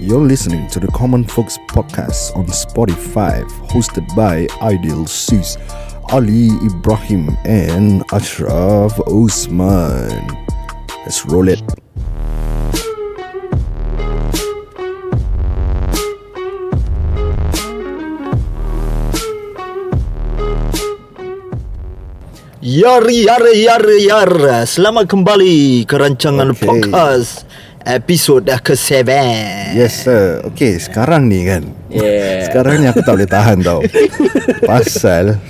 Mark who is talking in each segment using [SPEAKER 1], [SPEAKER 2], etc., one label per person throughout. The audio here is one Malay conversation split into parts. [SPEAKER 1] You're listening to the Common Folks podcast on Spotify, hosted by Ideal Sis, Ali Ibrahim, and Ashraf Osman. Let's roll it.
[SPEAKER 2] Yar yar yar yar Selamat kembali ke rancangan
[SPEAKER 1] Okey.
[SPEAKER 2] okay. podcast Episod ke-7
[SPEAKER 1] Yes sir Okay sekarang ni kan
[SPEAKER 3] Yeah.
[SPEAKER 1] Sekarang ni aku tak boleh tahan tau Pasal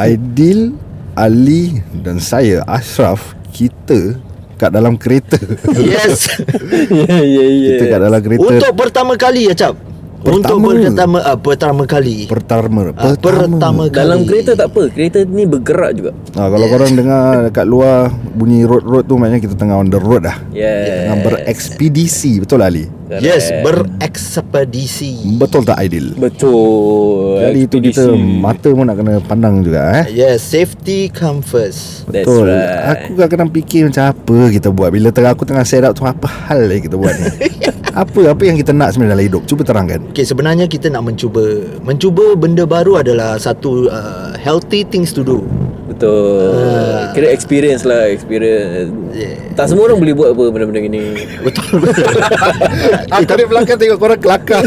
[SPEAKER 1] Aidil Ali Dan saya Ashraf Kita Kat dalam kereta
[SPEAKER 2] Yes
[SPEAKER 3] yeah, yeah,
[SPEAKER 1] Kita kan kat dalam kereta
[SPEAKER 2] Untuk pertama kali Acap Untuk
[SPEAKER 1] Pertama.
[SPEAKER 2] pertama ah, Pertama kali
[SPEAKER 1] Pertama
[SPEAKER 2] Ah, pertama kali
[SPEAKER 3] Dalam kereta tak apa. Kereta ni bergerak juga.
[SPEAKER 1] ha, Kalau korang dengar Dekat luar Bunyi road-road tu Maknanya kita tengah on the road dah
[SPEAKER 3] Yeah.
[SPEAKER 1] Tengah berekspedisi Betul lah Ali
[SPEAKER 2] Yes Berekspedisi
[SPEAKER 1] Betul tak Aidil
[SPEAKER 3] Betul.
[SPEAKER 1] Jadi itu kita Mata pun nak kena pandang juga eh
[SPEAKER 2] Yes Safety come first
[SPEAKER 3] That's
[SPEAKER 1] Betul
[SPEAKER 3] right.
[SPEAKER 1] Aku kadang-kadang fikir macam apa kita buat Bila tengah aku tengah set up tu Apa hal yang kita buat ni Apa apa yang kita nak sebenarnya dalam hidup Cuba terangkan
[SPEAKER 2] Okay sebenarnya kita nak mencuba Mencuba benda baru adalah Satu uh, healthy things to do
[SPEAKER 3] Betul.
[SPEAKER 1] Ah.
[SPEAKER 3] Kira experience lah, experience.
[SPEAKER 2] Yeah.
[SPEAKER 3] Tak semua orang boleh buat apa benda-benda gini.
[SPEAKER 2] Betul betul
[SPEAKER 1] Aku di belakang tengok korang kelakar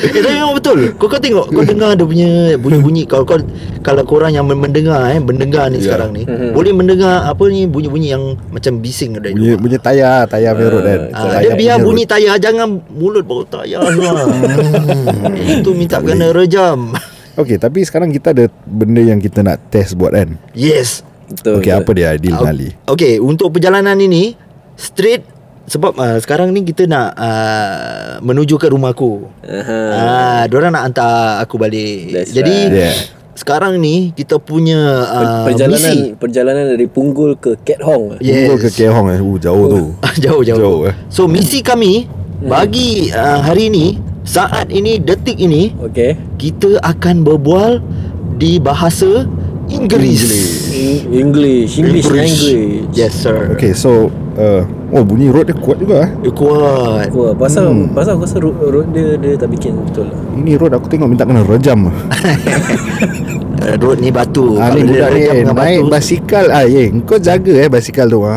[SPEAKER 2] Eh tapi memang betul Kau kau tengok Kau dengar dia punya bunyi-bunyi Kalau kau Kalau korang yang men- mendengar eh Mendengar
[SPEAKER 1] Ya.
[SPEAKER 2] ni yeah. sekarang ni Boleh mendengar Apa ni Bunyi-bunyi yang Macam bising dari
[SPEAKER 1] Bunyi,
[SPEAKER 2] bunyi,
[SPEAKER 1] bunyi tayar Tayar punya road kan
[SPEAKER 2] Ah,
[SPEAKER 1] Tayar
[SPEAKER 2] dia biar
[SPEAKER 1] punya
[SPEAKER 2] bunyi
[SPEAKER 1] road.
[SPEAKER 2] tayar Jangan mulut bau tayar lah. Hmm. Itu minta
[SPEAKER 1] Tak
[SPEAKER 2] kena rejam
[SPEAKER 1] Okay tapi sekarang kita ada Benda yang kita nak test buat kan
[SPEAKER 2] Yes
[SPEAKER 3] Betul.
[SPEAKER 1] Okay apa dia Adil dan
[SPEAKER 2] Ah,
[SPEAKER 1] Ali
[SPEAKER 2] Okay untuk perjalanan ini Straight Sebab uh, sekarang ni kita nak uh, Menuju ke rumah aku
[SPEAKER 3] Aha.
[SPEAKER 2] Ah, diorang nak hantar aku balik.
[SPEAKER 3] That's
[SPEAKER 2] Jadi
[SPEAKER 1] right. Yeah.
[SPEAKER 2] sekarang ni kita punya
[SPEAKER 1] Ah,
[SPEAKER 2] uh,
[SPEAKER 3] perjalanan
[SPEAKER 2] misi.
[SPEAKER 3] perjalanan dari Punggol ke Cat Hong. lah.
[SPEAKER 2] Yes. Oh.
[SPEAKER 1] Tunggu ke Kehong eh uh, Jauh tu
[SPEAKER 2] jauh
[SPEAKER 1] Jauh,
[SPEAKER 2] jauh. jauh
[SPEAKER 1] eh.
[SPEAKER 2] eh. So misi kami
[SPEAKER 3] Hmm.
[SPEAKER 2] bagi uh, hari ini, saat ini, detik ini
[SPEAKER 3] Okay.
[SPEAKER 2] kita akan berbual di bahasa Inggeris.
[SPEAKER 3] In- English, English language.
[SPEAKER 2] Yes sir.
[SPEAKER 1] Okay so uh, Oh bunyi road dia kuat juga eh
[SPEAKER 2] Eh, Kuat.
[SPEAKER 3] Wah, pasal
[SPEAKER 1] Hmm.
[SPEAKER 3] pasal aku rasa road, road dia dia tak bikin betul lah.
[SPEAKER 1] Ini road aku tengok minta kena rejam
[SPEAKER 2] Eh, Road ni batu.
[SPEAKER 1] Ah, ni
[SPEAKER 2] Kalau dia
[SPEAKER 1] budak ni
[SPEAKER 2] rekam
[SPEAKER 1] eh,
[SPEAKER 2] dengan
[SPEAKER 1] naik
[SPEAKER 2] batu,
[SPEAKER 1] basikal ah, eh, kau jaga eh basikal tu. Ha.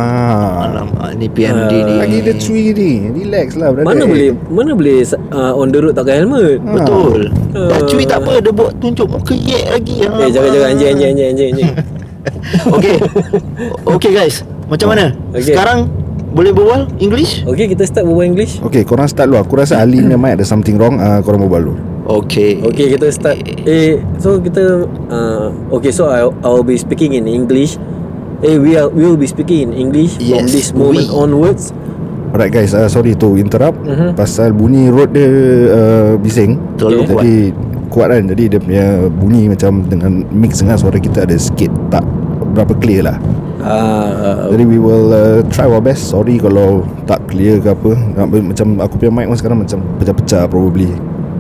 [SPEAKER 2] Alamak ni PMD
[SPEAKER 3] Ah.
[SPEAKER 2] ni.
[SPEAKER 1] Lagi dia cuy ni. Relax lah brother.
[SPEAKER 3] Mana
[SPEAKER 1] Eh,
[SPEAKER 3] boleh mana boleh uh, on the road tak pakai helmet.
[SPEAKER 2] Hmm. Betul.
[SPEAKER 3] Ah.
[SPEAKER 2] Dah cuy tak apa dia buat tunjuk muka yek lagi. Ah,
[SPEAKER 3] Eh, jangan jangan anjing anjing anjing anjing. anjing.
[SPEAKER 2] Okay Okay guys Macam mana
[SPEAKER 3] Okay.
[SPEAKER 2] Sekarang Boleh berbual English
[SPEAKER 3] okay, kita start berbual English.
[SPEAKER 1] Okay korang start dulu Aku rasa Ali punya mic ada something wrong uh, Korang berbual dulu
[SPEAKER 2] Okay
[SPEAKER 3] Okay, kita start. Eh, so kita uh, okay, so I I'll be speaking in English. Eh, we are we will be speaking in English from
[SPEAKER 2] Yes,
[SPEAKER 3] this moment
[SPEAKER 2] we.
[SPEAKER 3] onwards.
[SPEAKER 1] Alright guys uh, Sorry to interrupt
[SPEAKER 3] Mhm.
[SPEAKER 1] Pasal bunyi road dia uh, Bising
[SPEAKER 2] Terlalu
[SPEAKER 3] Okay.
[SPEAKER 2] kuat
[SPEAKER 1] Jadi kuat kan Jadi dia punya bunyi macam Dengan mix dengan suara kita ada sikit Tak berapa clear lah
[SPEAKER 3] Ah, uh,
[SPEAKER 1] Jadi we will uh, try our best Sorry kalau tak clear ke apa Nak- Macam aku punya mic pun sekarang Macam pecah-pecah probably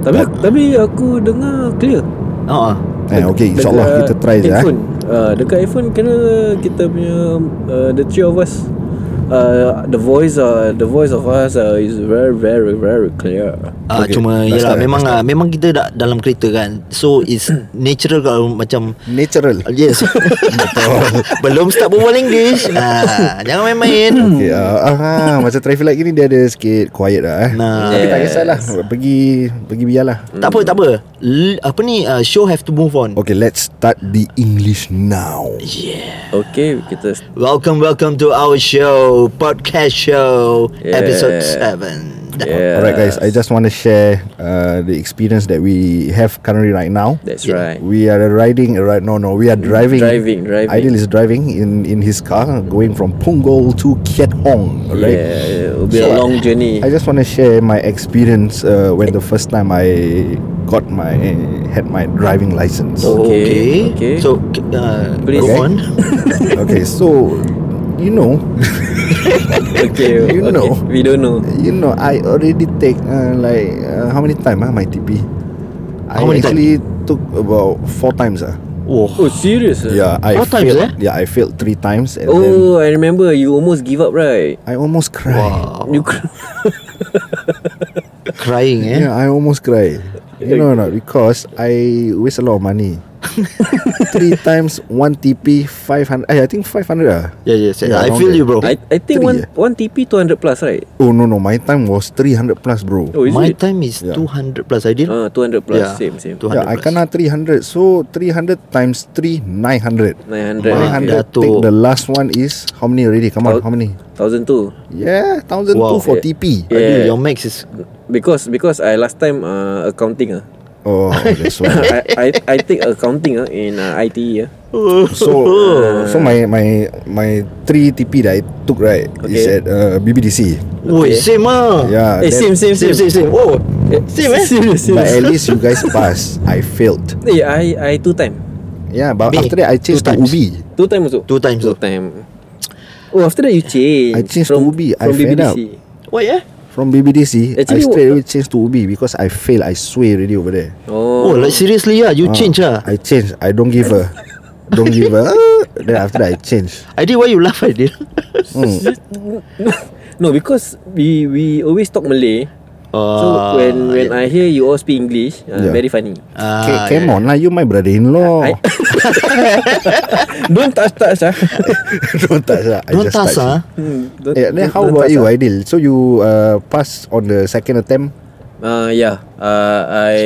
[SPEAKER 3] tapi tapi aku dengar clear.
[SPEAKER 2] uh-huh.
[SPEAKER 1] Eh okay insyaAllah
[SPEAKER 3] Dekat
[SPEAKER 1] kita try je eh.
[SPEAKER 3] iPhone. Uh, dekat iPhone kena kita punya uh, the three of us uh, the voice uh, the voice of us uh, is very very very clear.
[SPEAKER 2] Ah,
[SPEAKER 1] Okay.
[SPEAKER 2] okay. Cuma
[SPEAKER 1] Dah
[SPEAKER 2] yalah,
[SPEAKER 1] start,
[SPEAKER 2] Memang ah, memang kita dah dalam kereta kan So it's natural kalau macam
[SPEAKER 1] Natural
[SPEAKER 2] Yes Belum start berbual English ah, Jangan main-main
[SPEAKER 1] Okay, uh, ah, macam traffic light gini dia ada sikit quiet lah eh.
[SPEAKER 2] Nah.
[SPEAKER 1] Tapi tak kisahlah. Pergi pergi biarlah.
[SPEAKER 2] Tak apa tak apa L- Apa ni ah, Show have to move on
[SPEAKER 1] Okay, let's start the English now.
[SPEAKER 2] Yeah
[SPEAKER 3] Okay, kita
[SPEAKER 2] Welcome welcome to our show Podcast show
[SPEAKER 3] Yeah.
[SPEAKER 2] Episode 7
[SPEAKER 3] yeah.
[SPEAKER 1] Alright guys, I just want to share uh, the experience that we have currently right now.
[SPEAKER 3] That's right.
[SPEAKER 1] We are riding uh, right no no, we are driving.
[SPEAKER 3] Mm, Driving, driving.
[SPEAKER 1] Aidil is driving in in his car going from Punggol to Kiat Hong, right?
[SPEAKER 3] Yeah, it will be a
[SPEAKER 2] Yeah.
[SPEAKER 3] long journey.
[SPEAKER 1] I just want to share my experience uh, when the first time I got my had my driving license.
[SPEAKER 3] Oh.
[SPEAKER 2] Okay.
[SPEAKER 3] Okay, okay.
[SPEAKER 2] So k- uh,
[SPEAKER 3] Please.
[SPEAKER 2] go
[SPEAKER 1] Okay.
[SPEAKER 2] on.
[SPEAKER 1] okay, so you know,
[SPEAKER 3] okay,
[SPEAKER 1] You
[SPEAKER 3] okay.
[SPEAKER 1] know.
[SPEAKER 3] We don't know.
[SPEAKER 1] you know, I already take uh, like uh, how many time ah my TP? I
[SPEAKER 2] How many
[SPEAKER 1] actually took about four times ah.
[SPEAKER 2] Oh,
[SPEAKER 3] Oh serious? ah?
[SPEAKER 1] Yeah, I
[SPEAKER 2] Four times,
[SPEAKER 1] failed.
[SPEAKER 2] eh?
[SPEAKER 1] Yeah, I failed three times and then
[SPEAKER 3] Oh, I remember you almost give up, right?
[SPEAKER 1] I almost cried.
[SPEAKER 2] wow.
[SPEAKER 3] You cr-
[SPEAKER 2] Crying eh.
[SPEAKER 1] Yeah, I almost cried. You know not because I waste a lot of money. Three times one TP five hundred. I think five hundred. Ah.
[SPEAKER 2] Yeah, yeah. yeah,
[SPEAKER 1] Yeah,
[SPEAKER 2] I
[SPEAKER 1] around
[SPEAKER 2] feel
[SPEAKER 1] there.
[SPEAKER 2] you, bro.
[SPEAKER 3] I I think
[SPEAKER 1] Oh, Three, eh?
[SPEAKER 3] one one TP 200 plus, right?
[SPEAKER 1] Oh no no, my time was three hundred plus, bro.
[SPEAKER 3] Oh, is
[SPEAKER 2] My
[SPEAKER 3] it?
[SPEAKER 2] time is
[SPEAKER 1] Yeah.
[SPEAKER 2] yeah. 200 plus. I did.
[SPEAKER 3] Ah, 200 plus, same same.
[SPEAKER 2] 200
[SPEAKER 1] Yeah, I
[SPEAKER 2] plus.
[SPEAKER 1] kena three hundred. So three hundred times three nine hundred. Nine
[SPEAKER 3] 900.
[SPEAKER 2] Wow.
[SPEAKER 1] hundred.
[SPEAKER 2] Dato'.
[SPEAKER 1] Take the last one is how many already? Come on,
[SPEAKER 3] Thou-
[SPEAKER 1] how many?
[SPEAKER 3] 1002.
[SPEAKER 1] Yeah, thousand two
[SPEAKER 2] Wow.
[SPEAKER 1] for TP.
[SPEAKER 3] Yeah.
[SPEAKER 2] Aduh, your max is
[SPEAKER 3] Because because I last time uh, accounting ah.
[SPEAKER 1] Oh, that's why.
[SPEAKER 3] I, I I take accounting ah in uh, ITE ah.
[SPEAKER 1] So, so my my my three TP that I took right is at
[SPEAKER 3] Okay.
[SPEAKER 1] uh, BBDC.
[SPEAKER 2] Woi, same ah.
[SPEAKER 1] Yeah.
[SPEAKER 3] Eh,
[SPEAKER 1] that-
[SPEAKER 3] same same
[SPEAKER 2] Same,
[SPEAKER 3] same.
[SPEAKER 2] same, same. Oh, same eh.
[SPEAKER 3] Serious,
[SPEAKER 1] But at
[SPEAKER 3] serious.
[SPEAKER 1] least you guys pass. I failed.
[SPEAKER 3] Eh, I I two time.
[SPEAKER 1] Yeah, but
[SPEAKER 2] Me,
[SPEAKER 1] after that I changed to
[SPEAKER 2] two times.
[SPEAKER 1] Ubi.
[SPEAKER 3] Two time also.
[SPEAKER 2] Two times.
[SPEAKER 3] Two time. Oh, after that you change.
[SPEAKER 1] I change to Ubi. I
[SPEAKER 3] from
[SPEAKER 1] fed
[SPEAKER 3] BBC.
[SPEAKER 1] up.
[SPEAKER 2] Why eh?
[SPEAKER 1] From BBDC, I
[SPEAKER 3] Actually,
[SPEAKER 1] straight away changed to Ubi because I failed. I swear already over there.
[SPEAKER 3] Oh,
[SPEAKER 2] Oh, like seriously ah,
[SPEAKER 1] Ah,
[SPEAKER 2] you change ah.
[SPEAKER 1] I changed. I don't give a. don't give a. Then after that I changed.
[SPEAKER 2] I did why you laugh I did.
[SPEAKER 3] no, because we we always talk Malay. So
[SPEAKER 2] Ah,
[SPEAKER 3] when when I hear you all speak English, uh,
[SPEAKER 1] Yeah.
[SPEAKER 3] very funny.
[SPEAKER 2] Ah,
[SPEAKER 1] Ca- come on lah, you my brother-in-law.
[SPEAKER 3] I- Don't touch touch ah.
[SPEAKER 1] don't touch lah. I
[SPEAKER 2] Don't
[SPEAKER 1] just
[SPEAKER 2] touch
[SPEAKER 1] touch
[SPEAKER 2] ah.
[SPEAKER 3] Hmm, don't-
[SPEAKER 1] Yeah, then
[SPEAKER 3] don't-
[SPEAKER 1] how
[SPEAKER 3] don't
[SPEAKER 1] about
[SPEAKER 3] touch
[SPEAKER 1] you,
[SPEAKER 3] ah.
[SPEAKER 1] Aidil? So you uh, pass on the second attempt.
[SPEAKER 3] Uh, yeah, uh, I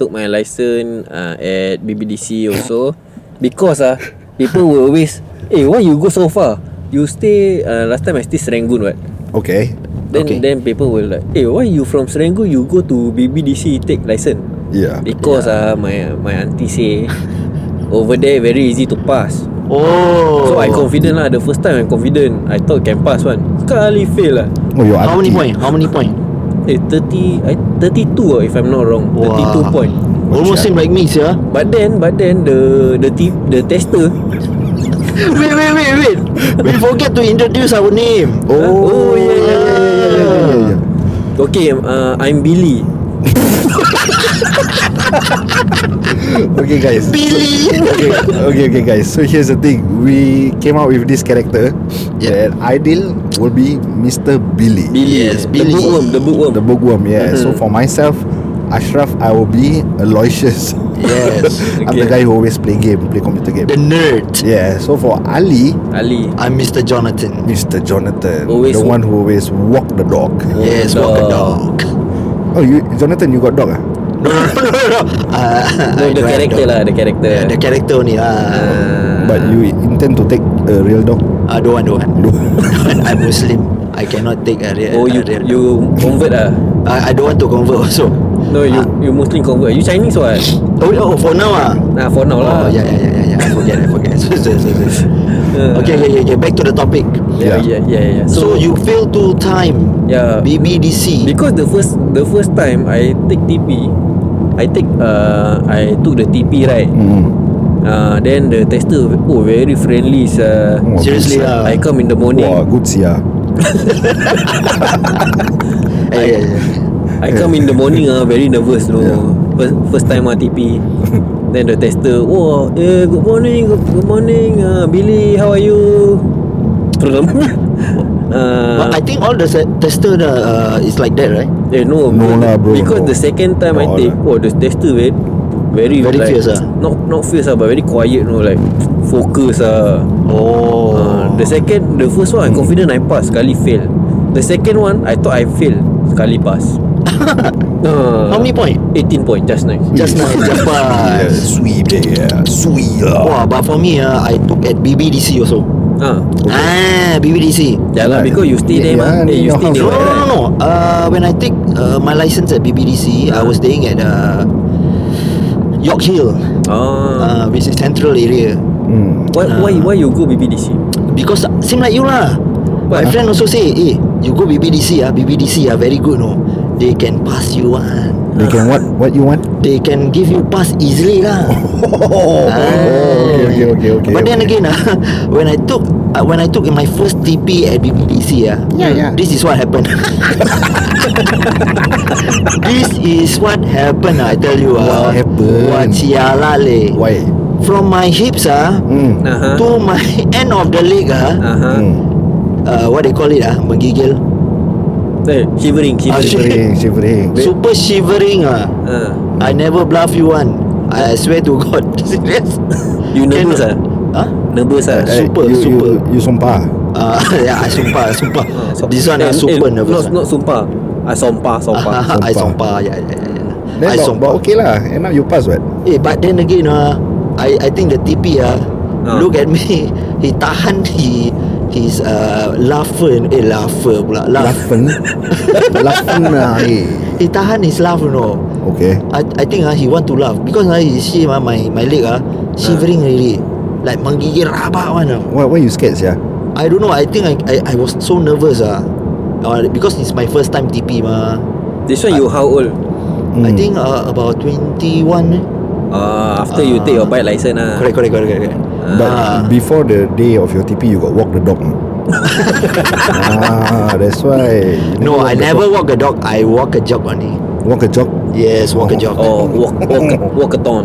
[SPEAKER 3] took my license uh, at BBDC also because ah uh, people will always, eh why you go so far? You stay uh, last time I stay Serangoon what?
[SPEAKER 1] Okay.
[SPEAKER 3] Then
[SPEAKER 2] Okay.
[SPEAKER 3] then people will like, eh why you from Serangoon you go to BBDC take license?
[SPEAKER 1] Yeah.
[SPEAKER 3] Because ah my my auntie say over there very easy to pass.
[SPEAKER 2] Oh.
[SPEAKER 3] So I confident lah The first time I'm confident I thought can pass one Sekali fail lah
[SPEAKER 1] Oh, your
[SPEAKER 2] How
[SPEAKER 1] auntie.
[SPEAKER 2] many point? How many point?
[SPEAKER 3] Eh 30 I, 32 lah if I'm not wrong
[SPEAKER 2] Wah.
[SPEAKER 3] 32 point
[SPEAKER 2] Almost same like me, yeah.
[SPEAKER 3] But then But then the The, t- the tester
[SPEAKER 2] wait, wait, wait, wait. We forget to introduce our name.
[SPEAKER 1] Oh,
[SPEAKER 3] Oh, yeah, yeah, yeah, yeah,
[SPEAKER 1] yeah, yeah, yeah, yeah.
[SPEAKER 3] Okay uh, I'm Billy
[SPEAKER 1] Okay, guys.
[SPEAKER 2] Billy.
[SPEAKER 1] okay, okay, okay, guys. So here's the thing. We came out with this character
[SPEAKER 2] Yeah.
[SPEAKER 1] that ideal will be Mr. Billy.
[SPEAKER 3] Billy
[SPEAKER 2] Yes,
[SPEAKER 3] The
[SPEAKER 2] Billy. Mm-hmm.
[SPEAKER 3] bookworm The bookworm
[SPEAKER 1] The bookworm, yeah. So
[SPEAKER 3] Mhm.
[SPEAKER 1] for myself, Ashraf, I will be Aloysius.
[SPEAKER 2] yes.
[SPEAKER 1] I'm the guy
[SPEAKER 3] Okay.
[SPEAKER 1] who always play game, play computer game.
[SPEAKER 2] The nerd.
[SPEAKER 1] Yeah. So for Ali,
[SPEAKER 3] Ali
[SPEAKER 2] I'm Mr. Jonathan.
[SPEAKER 1] Mr. Jonathan,
[SPEAKER 3] Always
[SPEAKER 1] the
[SPEAKER 3] walk-
[SPEAKER 1] one who always walk the dog.
[SPEAKER 2] Yes, walk a dog.
[SPEAKER 1] Oh, you, Jonathan, you got dog ah?
[SPEAKER 2] No, no, no, no. no. Uh,
[SPEAKER 3] No the character lah The character
[SPEAKER 2] Yeah, the character only. Ah,
[SPEAKER 3] Ah.
[SPEAKER 1] But you intend to take a real dog?
[SPEAKER 2] uh, don't want, don't want. I'm Muslim. I cannot take a real.
[SPEAKER 3] Oh you
[SPEAKER 2] a real
[SPEAKER 3] You convert lah
[SPEAKER 2] I, I don't want to convert also.
[SPEAKER 3] No
[SPEAKER 2] Ah.
[SPEAKER 3] you You Muslim convert You Chinese what
[SPEAKER 2] Oh, oh for now ah.
[SPEAKER 3] Nah for now lah
[SPEAKER 2] Oh yeah, yeah, yeah, yeah, yeah. I forget, I forget. So, so, so, so.
[SPEAKER 3] Uh,
[SPEAKER 2] Okay, okay, okay, okay. Back to the topic.
[SPEAKER 3] Yeah
[SPEAKER 1] Yeah.
[SPEAKER 3] yeah yeah, yeah.
[SPEAKER 2] So, you failed two time
[SPEAKER 3] Yeah
[SPEAKER 2] BBDC.
[SPEAKER 3] Because the first the first time I take TP, I take uh I took the TP right.
[SPEAKER 1] Mm.
[SPEAKER 3] Uh, then the tester oh very friendly sir.
[SPEAKER 1] Oh,
[SPEAKER 2] Seriously uh,
[SPEAKER 1] good,
[SPEAKER 2] lah.
[SPEAKER 3] I come in the morning.
[SPEAKER 1] Wah, good sia.
[SPEAKER 2] Eh, yeah, yeah.
[SPEAKER 3] I come in the morning ah very nervous no.
[SPEAKER 1] Yeah.
[SPEAKER 3] First first time ah TP. then the tester oh eh, good morning good, good morning uh, Billy how are you? Terus. ah,
[SPEAKER 2] But
[SPEAKER 3] uh,
[SPEAKER 2] I think all the se- tester uh, is like that, right?
[SPEAKER 3] Eh no,
[SPEAKER 1] No lah, bro,
[SPEAKER 3] Because
[SPEAKER 1] no.
[SPEAKER 3] the second time I
[SPEAKER 1] No lah.
[SPEAKER 3] take, oh the tester very, very,
[SPEAKER 2] Very
[SPEAKER 3] like,
[SPEAKER 2] fierce ah.
[SPEAKER 3] Not not fierce ah, but very quiet. No, like focus ah.
[SPEAKER 2] Oh.
[SPEAKER 3] Uh, the second, the first
[SPEAKER 1] Hmm.
[SPEAKER 3] one I confident I pass, sekali fail. The second one I thought I fail, sekali pass. uh,
[SPEAKER 2] How many point?
[SPEAKER 3] 18 point, just nice.
[SPEAKER 2] Just nice, just
[SPEAKER 1] Yeah,
[SPEAKER 2] pass.
[SPEAKER 1] sweet yeah, sweet lah.
[SPEAKER 2] Wow, but for me, uh, I took at BBDC also.
[SPEAKER 3] Ah,
[SPEAKER 2] Ah, BBDC.
[SPEAKER 3] yeah lah, because you
[SPEAKER 2] Ya,
[SPEAKER 3] stay there
[SPEAKER 1] Yeah,
[SPEAKER 3] mah.
[SPEAKER 1] yeah,
[SPEAKER 3] Eh, you
[SPEAKER 1] your
[SPEAKER 3] stay
[SPEAKER 1] house
[SPEAKER 2] No, no,
[SPEAKER 3] there.
[SPEAKER 1] right?
[SPEAKER 2] no,
[SPEAKER 3] right?
[SPEAKER 2] no. Uh, when I take uh, my license at BBDC, I was staying at uh, York Hill, uh,
[SPEAKER 3] Ah,
[SPEAKER 2] which is central area.
[SPEAKER 1] Mm.
[SPEAKER 3] why
[SPEAKER 2] Ah.
[SPEAKER 3] why why you go BBDC?
[SPEAKER 2] Because same like you lah. My
[SPEAKER 3] Why?
[SPEAKER 2] friend also say, eh, you go BBDC ah, BBDC ah, very good no. They can pass you one.
[SPEAKER 1] They can what? What you want?
[SPEAKER 2] They can give you pass easily lah.
[SPEAKER 1] Oh, okay, okay, okay, okay.
[SPEAKER 2] But then
[SPEAKER 1] okay.
[SPEAKER 2] again ah, when I took uh, when I took my first TP at BBDC ah,
[SPEAKER 1] Yeah, yeah.
[SPEAKER 2] this is what happened. this is what happened ah, I tell you
[SPEAKER 1] What
[SPEAKER 2] ah.
[SPEAKER 1] happened?
[SPEAKER 2] What siala le.
[SPEAKER 1] why?
[SPEAKER 2] from my hips ah
[SPEAKER 1] Hmm.
[SPEAKER 3] Aha.
[SPEAKER 2] to my end of the leg ah
[SPEAKER 3] Aha.
[SPEAKER 1] Hmm.
[SPEAKER 2] uh, what they call it ah menggigil
[SPEAKER 3] Eh, shivering,
[SPEAKER 2] Ah,
[SPEAKER 3] shivering.
[SPEAKER 1] Shivering, shivering.
[SPEAKER 2] super shivering ah
[SPEAKER 3] Ah.
[SPEAKER 2] I never bluff you one I swear to God serious
[SPEAKER 3] You nervous ah?
[SPEAKER 2] Cannot. ah
[SPEAKER 3] Nervous ah?
[SPEAKER 1] Eh,
[SPEAKER 2] Super,
[SPEAKER 1] you,
[SPEAKER 2] super.
[SPEAKER 1] You, you sumpah.
[SPEAKER 2] Ah, yeah, I sumpah, I sumpah.
[SPEAKER 3] Ah, som-
[SPEAKER 2] This one I
[SPEAKER 3] eh,
[SPEAKER 2] super
[SPEAKER 3] eh,
[SPEAKER 2] nervous.
[SPEAKER 3] Not, not sumpah. I sompah, sompah.
[SPEAKER 2] Ah,
[SPEAKER 1] Sumpah.
[SPEAKER 2] I sumpah, yeah, yeah, yeah. yeah.
[SPEAKER 1] Then but,
[SPEAKER 2] I
[SPEAKER 1] but
[SPEAKER 2] ya. sumpah.
[SPEAKER 1] okay lah. End up you pass what?
[SPEAKER 2] Eh, but then again, ah, I I think the TP ah,
[SPEAKER 3] Ah.
[SPEAKER 2] look at me, he tahan he his uh, laughing, eh laugher pula, laugh.
[SPEAKER 1] Lafen. Lafen lah ni.
[SPEAKER 2] He tahan his laugh, you know.
[SPEAKER 1] ah, Okay.
[SPEAKER 2] I I think ah he want to laugh because ah he see ah, my my leg ah shivering really, like menggigil rabak one. ah.
[SPEAKER 1] Why, why you scared yeah?
[SPEAKER 2] I don't know. I think I I, I was so nervous ah, uh, because it's my first time TP mah.
[SPEAKER 3] This one you how old?
[SPEAKER 1] Mm.
[SPEAKER 2] I
[SPEAKER 1] Hmm.
[SPEAKER 2] think uh, about 21 eh.
[SPEAKER 3] Ah, after you take your bike license ah.
[SPEAKER 2] Correct, correct, correct, correct. correct.
[SPEAKER 1] But
[SPEAKER 2] Ah.
[SPEAKER 1] before the day of your TP, you got walk the dog. no? ah, that's why. You
[SPEAKER 2] No, I
[SPEAKER 1] walk the
[SPEAKER 2] never
[SPEAKER 1] dog.
[SPEAKER 2] walk a dog. I walk a jog only.
[SPEAKER 1] walk a jog.
[SPEAKER 2] Yes, walk a jog.
[SPEAKER 3] Oh, walk walk walkathon.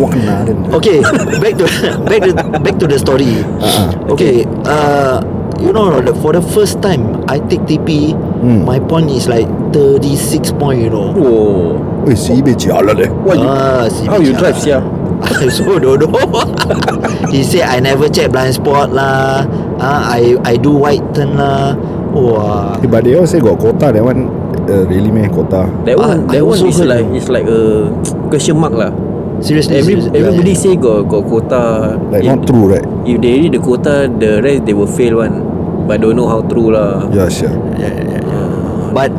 [SPEAKER 1] Walk naden.
[SPEAKER 2] Okay, back to back to back to the story.
[SPEAKER 1] Uh-uh.
[SPEAKER 2] Okay, uh, you know, the- for the first time I take TP,
[SPEAKER 1] Hmm.
[SPEAKER 2] my point is like 36 point. You know.
[SPEAKER 3] Oh.
[SPEAKER 1] Weh, sibeh jialat eh.
[SPEAKER 3] What you
[SPEAKER 2] Ah, si
[SPEAKER 3] How you
[SPEAKER 2] bijak
[SPEAKER 3] drive, sia?
[SPEAKER 2] lah. I so don't know. He said I never check blind spot lah. Ah, I I do white turn lah. Wah.
[SPEAKER 1] Eh, But they all say got quota. That one uh, really meh quota.
[SPEAKER 3] That one,
[SPEAKER 2] Ah, I- I
[SPEAKER 3] that one
[SPEAKER 2] also
[SPEAKER 3] is
[SPEAKER 2] heard
[SPEAKER 3] like
[SPEAKER 2] you.
[SPEAKER 3] it's like a question mark lah.
[SPEAKER 2] Seriously,
[SPEAKER 3] Every
[SPEAKER 2] seriously,
[SPEAKER 3] everybody
[SPEAKER 2] yeah,
[SPEAKER 3] say got got quota.
[SPEAKER 1] Like
[SPEAKER 3] if,
[SPEAKER 1] not true, right?
[SPEAKER 3] if they read the quota, the rest they will fail one. But don't know how true lah.
[SPEAKER 1] Yeah, sure.
[SPEAKER 2] yeah, yeah, yeah, yeah. But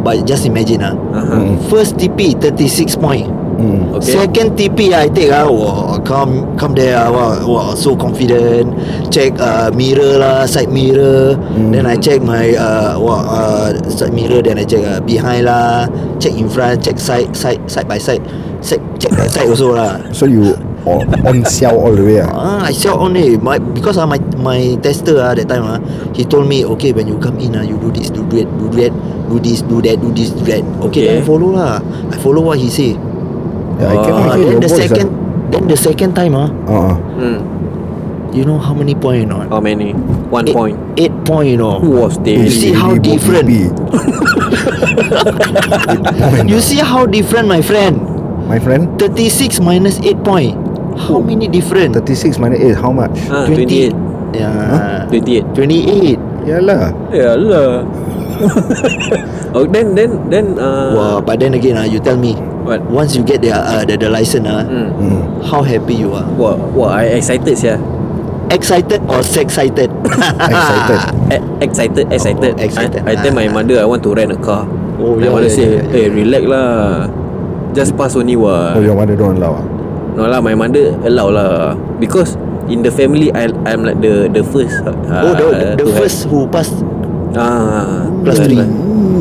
[SPEAKER 2] but just imagine ah.
[SPEAKER 3] Uh-huh.
[SPEAKER 1] Mm,
[SPEAKER 2] First TP 36 point.
[SPEAKER 1] Hmm.
[SPEAKER 3] Okay.
[SPEAKER 2] Second TP I take ah, wah, come come there ah, wah, wah, so confident. Check uh, mirror lah, side mirror. Then I check my uh, wah, uh, side mirror. Then I check uh, behind lah. Check in front, check side side side by side. Check check by side also lah.
[SPEAKER 1] So you on, on siao all the way ah?
[SPEAKER 2] Ah, I sell only my because ah my my tester ah that time ah he told me okay when you come in ah you do this do that do that do this do that do this do that okay,
[SPEAKER 3] Okay.
[SPEAKER 2] then I follow lah I follow what he say
[SPEAKER 1] Yeah, I cannot
[SPEAKER 2] ah
[SPEAKER 1] hear
[SPEAKER 2] then
[SPEAKER 1] your
[SPEAKER 2] the
[SPEAKER 1] voice uh,
[SPEAKER 2] second then the second time ah
[SPEAKER 1] ah. Uh-uh.
[SPEAKER 3] Hmm.
[SPEAKER 2] you know how many point or not
[SPEAKER 3] How many? One
[SPEAKER 2] eight,
[SPEAKER 3] point.
[SPEAKER 2] eight point you know
[SPEAKER 3] Who was
[SPEAKER 2] Eh. You
[SPEAKER 3] there?
[SPEAKER 2] see how
[SPEAKER 1] Really bo-
[SPEAKER 2] different.
[SPEAKER 1] pipi.
[SPEAKER 2] you see how different my friend
[SPEAKER 1] My friend,
[SPEAKER 2] 36 minus 8 point how many different
[SPEAKER 1] 36 minus 8, how much?
[SPEAKER 3] Ah, 28.
[SPEAKER 2] yeah 28
[SPEAKER 3] 28.
[SPEAKER 1] Yalah.
[SPEAKER 3] Yeah lah. oh, then then then uh,
[SPEAKER 2] wow but then again ah you tell me
[SPEAKER 3] What?
[SPEAKER 2] once you get the uh, the, the license ah
[SPEAKER 3] Hmm.
[SPEAKER 1] Hmm.
[SPEAKER 2] how happy you are
[SPEAKER 3] Wah, wah, I excited sia.
[SPEAKER 2] excited or excited?
[SPEAKER 3] Ah,
[SPEAKER 2] Ah.
[SPEAKER 1] Excited.
[SPEAKER 3] E- excited, excited.
[SPEAKER 2] Oh, excited.
[SPEAKER 3] I, I tell my
[SPEAKER 2] Ah.
[SPEAKER 3] mother I want to rent a car.
[SPEAKER 2] Oh,
[SPEAKER 3] my
[SPEAKER 2] yeah,
[SPEAKER 3] mother
[SPEAKER 2] yeah,
[SPEAKER 3] say,
[SPEAKER 2] yeah, yeah,
[SPEAKER 3] "Hey, relax lah. Just pass only
[SPEAKER 1] Oh,
[SPEAKER 3] what."
[SPEAKER 1] your mother don't allow ah?
[SPEAKER 3] No lah, my mother allow lah. Because in the family, I I'm like the the first. Uh,
[SPEAKER 2] oh, the, the first who passed.
[SPEAKER 3] Ah,
[SPEAKER 2] Class
[SPEAKER 3] to have
[SPEAKER 2] three.
[SPEAKER 3] li-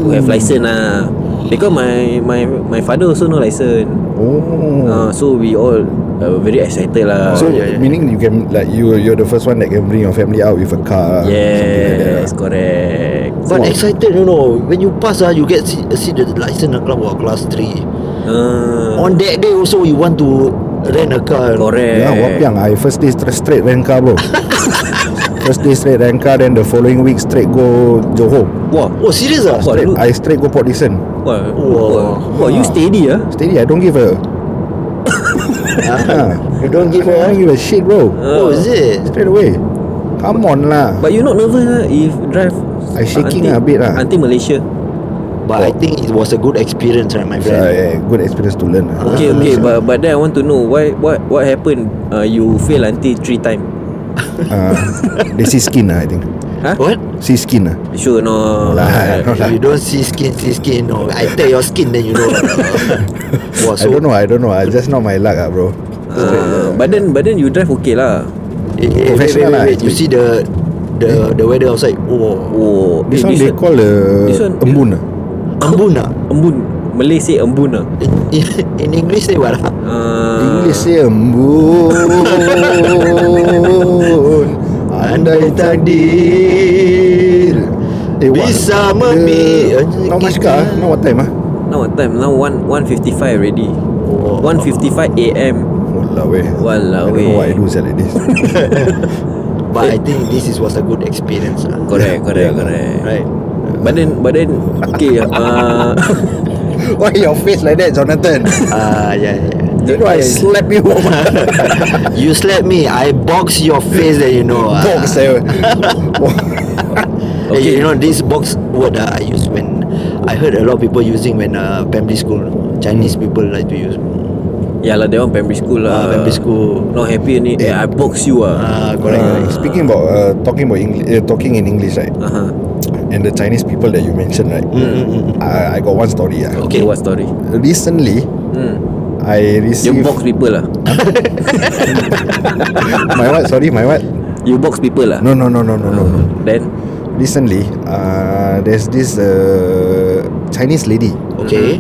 [SPEAKER 3] To have license lah. Because my my my father also no license.
[SPEAKER 1] Oh.
[SPEAKER 3] Ah, so we all uh, very excited lah.
[SPEAKER 1] so
[SPEAKER 2] Ah, yeah, yeah.
[SPEAKER 1] meaning you can like you you're the first one that can bring your family out with a car. something like that,
[SPEAKER 3] yes,
[SPEAKER 1] ah.
[SPEAKER 3] correct. Ah,
[SPEAKER 2] But excited, you know. When you pass, ah, you get see, see the license ah, club or class three.
[SPEAKER 3] Ah,
[SPEAKER 2] On that day also, you want to rent a car.
[SPEAKER 3] correct.
[SPEAKER 1] Yeah, wapiang. Ya, I first day straight, straight rent car, bro. first day straight rent car, then the following week straight go Johor.
[SPEAKER 3] Wah,
[SPEAKER 2] Oh, serious ah?
[SPEAKER 3] Wah,
[SPEAKER 1] Straight,
[SPEAKER 3] lu-
[SPEAKER 1] I straight go Port Dickson.
[SPEAKER 3] wah,
[SPEAKER 2] Wah.
[SPEAKER 3] wah, wah, you steady ah.
[SPEAKER 1] Steady, I don't give a.
[SPEAKER 2] Ah,
[SPEAKER 1] Ah.
[SPEAKER 2] you don't give
[SPEAKER 1] I don't
[SPEAKER 2] a.
[SPEAKER 1] give a shit, bro.
[SPEAKER 2] Oh, is it?
[SPEAKER 1] Straight away. Come on lah.
[SPEAKER 3] But you not nervous lah if drive
[SPEAKER 1] I shaking
[SPEAKER 3] until,
[SPEAKER 1] ah a bit lah.
[SPEAKER 3] Until Malaysia.
[SPEAKER 2] But I think it was a good experience, right, my
[SPEAKER 1] It's a
[SPEAKER 2] friend?
[SPEAKER 1] good experience to learn. lah.
[SPEAKER 3] Okay,
[SPEAKER 2] Ah.
[SPEAKER 3] okay, but but then I want to know why what what happened? Uh, you fail until three time.
[SPEAKER 1] Uh, they see skin lah, I think.
[SPEAKER 2] What?
[SPEAKER 1] See skin lah.
[SPEAKER 3] Sure Uh, no.
[SPEAKER 1] Lah,
[SPEAKER 3] Like,
[SPEAKER 1] no lah.
[SPEAKER 2] You don't see skin, see skin. No, I tear your skin, then you know. Wah,
[SPEAKER 1] I
[SPEAKER 2] so
[SPEAKER 1] don't know, I don't know. I just not my luck ah, bro.
[SPEAKER 3] Uh, but then but then you drive okay lah.
[SPEAKER 2] eh, eh, wait, wait,
[SPEAKER 1] Professional
[SPEAKER 2] wait,
[SPEAKER 1] lah, Hmm?
[SPEAKER 2] wait. You see the the the weather outside. Oh,
[SPEAKER 3] Oh,
[SPEAKER 1] This
[SPEAKER 3] eh,
[SPEAKER 1] one they call the
[SPEAKER 3] this one-
[SPEAKER 1] embun ah.
[SPEAKER 2] embun ah.
[SPEAKER 3] embun. Malay say embun lah.
[SPEAKER 2] In, in, in English say what? ah?
[SPEAKER 3] Uh,
[SPEAKER 1] English say embun. Andai takdir
[SPEAKER 2] Bisa
[SPEAKER 1] what-
[SPEAKER 2] memi-
[SPEAKER 1] the- Now much car, now what time ah?
[SPEAKER 3] Now what time? Now 1 1.55 already.
[SPEAKER 2] Oh.
[SPEAKER 3] 1.55 AM.
[SPEAKER 1] Walao eh I
[SPEAKER 3] Walao
[SPEAKER 1] don't know
[SPEAKER 3] eh.
[SPEAKER 1] why I do sia like this
[SPEAKER 2] But
[SPEAKER 1] Eh.
[SPEAKER 2] I think this is was a good experience lah.
[SPEAKER 3] Correct
[SPEAKER 1] Yeah.
[SPEAKER 3] Correct correct
[SPEAKER 2] Right.
[SPEAKER 3] But then But then Okay uh,
[SPEAKER 1] Why your face like that Jonathan
[SPEAKER 2] Ah, yeah, yeah.
[SPEAKER 1] You know I slap you
[SPEAKER 2] You slap me, I box your face that you know. ah.
[SPEAKER 1] Box saya
[SPEAKER 2] Eh, You know this box word uh, I use when I heard a lot of people using when uh, primary school. Chinese
[SPEAKER 1] Hmm.
[SPEAKER 2] people like to use.
[SPEAKER 3] Yeah lah That one primary school
[SPEAKER 2] Ah,
[SPEAKER 3] lah
[SPEAKER 2] primary school.
[SPEAKER 3] Not happy ni eh, I box you lah
[SPEAKER 2] Ah, correct.
[SPEAKER 1] Correct.
[SPEAKER 2] correct.
[SPEAKER 1] Speaking about uh, Talking about English uh, Talking in English right
[SPEAKER 3] uh-huh.
[SPEAKER 1] And the Chinese people That you mentioned right
[SPEAKER 2] Mm, mm, mm.
[SPEAKER 1] I, I got one story ah.
[SPEAKER 3] Okay what story
[SPEAKER 1] Recently
[SPEAKER 3] hmm.
[SPEAKER 1] I
[SPEAKER 3] You
[SPEAKER 1] received
[SPEAKER 3] box people lah
[SPEAKER 1] My what sorry My what
[SPEAKER 3] You box people lah
[SPEAKER 1] No no no no no no, no.
[SPEAKER 3] Then
[SPEAKER 1] Recently uh, There's this uh, Chinese lady
[SPEAKER 2] Okay.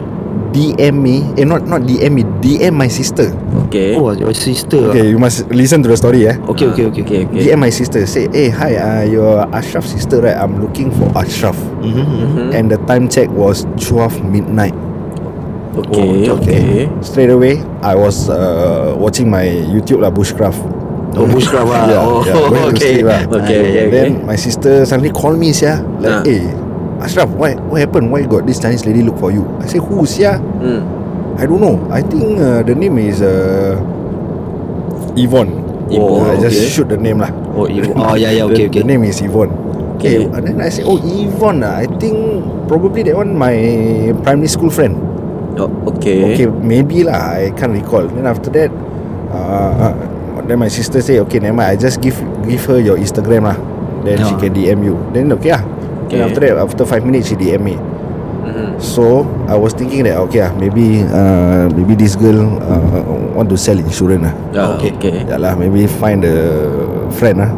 [SPEAKER 1] DM me Eh not not DM me DM my sister
[SPEAKER 3] Okay
[SPEAKER 2] Oh, your sister.
[SPEAKER 1] Okay you must listen to the story eh
[SPEAKER 2] ah. Okay, okay, okay.
[SPEAKER 3] Okay, okay.
[SPEAKER 1] DM my sister Say eh hi uh, Your Ashraf sister right I'm looking for Ashraf
[SPEAKER 2] Mm-hmm.
[SPEAKER 3] Mhm.
[SPEAKER 1] And the time check was 12 midnight
[SPEAKER 3] Okay
[SPEAKER 2] Oh,
[SPEAKER 3] Okay
[SPEAKER 1] Straight away I was uh, Watching my YouTube lah Bushcraft
[SPEAKER 2] Oh, bushcraft lah.
[SPEAKER 1] Yeah,
[SPEAKER 2] oh,
[SPEAKER 1] yeah, going to
[SPEAKER 2] okay.
[SPEAKER 1] sleep lah.
[SPEAKER 3] ah. Okay,
[SPEAKER 2] Ah, yeah,
[SPEAKER 3] okay.
[SPEAKER 2] yeah.
[SPEAKER 1] Then my sister suddenly call me sia Like
[SPEAKER 3] Ah.
[SPEAKER 1] eh Ashraf why, what happened Why got this Chinese lady look for you I say who sia
[SPEAKER 3] hmm.
[SPEAKER 1] I don't know. I think uh, the name is uh, Yvonne.
[SPEAKER 3] Yvonne,
[SPEAKER 1] I just
[SPEAKER 3] okay.
[SPEAKER 1] shoot the name lah.
[SPEAKER 2] Oh, you, oh, yeah, yeah,
[SPEAKER 1] the,
[SPEAKER 2] okay, okay.
[SPEAKER 1] The name is Yvonne.
[SPEAKER 3] Okay.
[SPEAKER 1] And then I say, oh Yvonne ah. I think probably that one my primary school friend.
[SPEAKER 3] Oh, okay
[SPEAKER 1] Okay, maybe lah. I can't recall. Then after that, uh, then my sister say, okay, never mind. I just give give her your Instagram lah. Then she
[SPEAKER 2] Ah.
[SPEAKER 1] can DM you. Then okay lah.
[SPEAKER 3] Okay.
[SPEAKER 1] Then after that, after five minutes, she DM me.
[SPEAKER 3] Mhm.
[SPEAKER 1] So I was thinking that okay ah maybe uh, maybe this girl uh, want to sell insurance lah.
[SPEAKER 3] Ah,
[SPEAKER 2] Okay.
[SPEAKER 3] okay. okay.
[SPEAKER 1] Yeah lah maybe find a friend lah.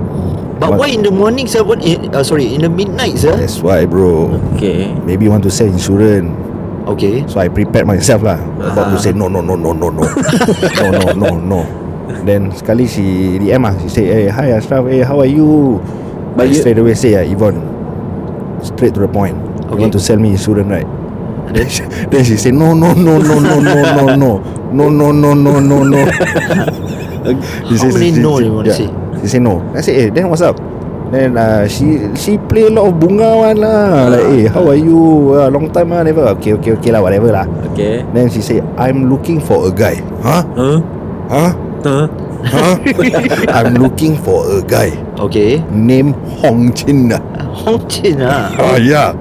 [SPEAKER 2] But why in the morning, sir? What? In, uh, sorry, in the midnight, sir?
[SPEAKER 1] That's why bro.
[SPEAKER 3] Okay.
[SPEAKER 1] Maybe want to sell insurance.
[SPEAKER 2] Okay.
[SPEAKER 1] So I prepared myself lah. About to say no no no no no no no no no no. Then sekali she DM ah she say hey hi Ashraf hey how are you?
[SPEAKER 3] But
[SPEAKER 1] But
[SPEAKER 3] you-
[SPEAKER 1] straight away say ah Yvonne straight to the point. You
[SPEAKER 2] Okay.
[SPEAKER 1] want to sell me insurance right? Then she, then she say no no no no no no no no no no no no no no. She
[SPEAKER 2] How many no you wanna say?
[SPEAKER 1] She say no. I say eh then what's up? Then uh, she she play a lot of bunga one lah. Like eh how are you? Uh, long time ah never. Okay okay okay lah whatever lah.
[SPEAKER 3] Okay.
[SPEAKER 1] Then she say I'm looking for a guy. Huh?
[SPEAKER 3] Huh?
[SPEAKER 1] Huh?
[SPEAKER 3] Huh?
[SPEAKER 1] Huh? I'm looking for a guy
[SPEAKER 2] Okay.
[SPEAKER 1] named Hong Chin. ah."
[SPEAKER 2] Hong Chin, ah.
[SPEAKER 1] Oh yeah.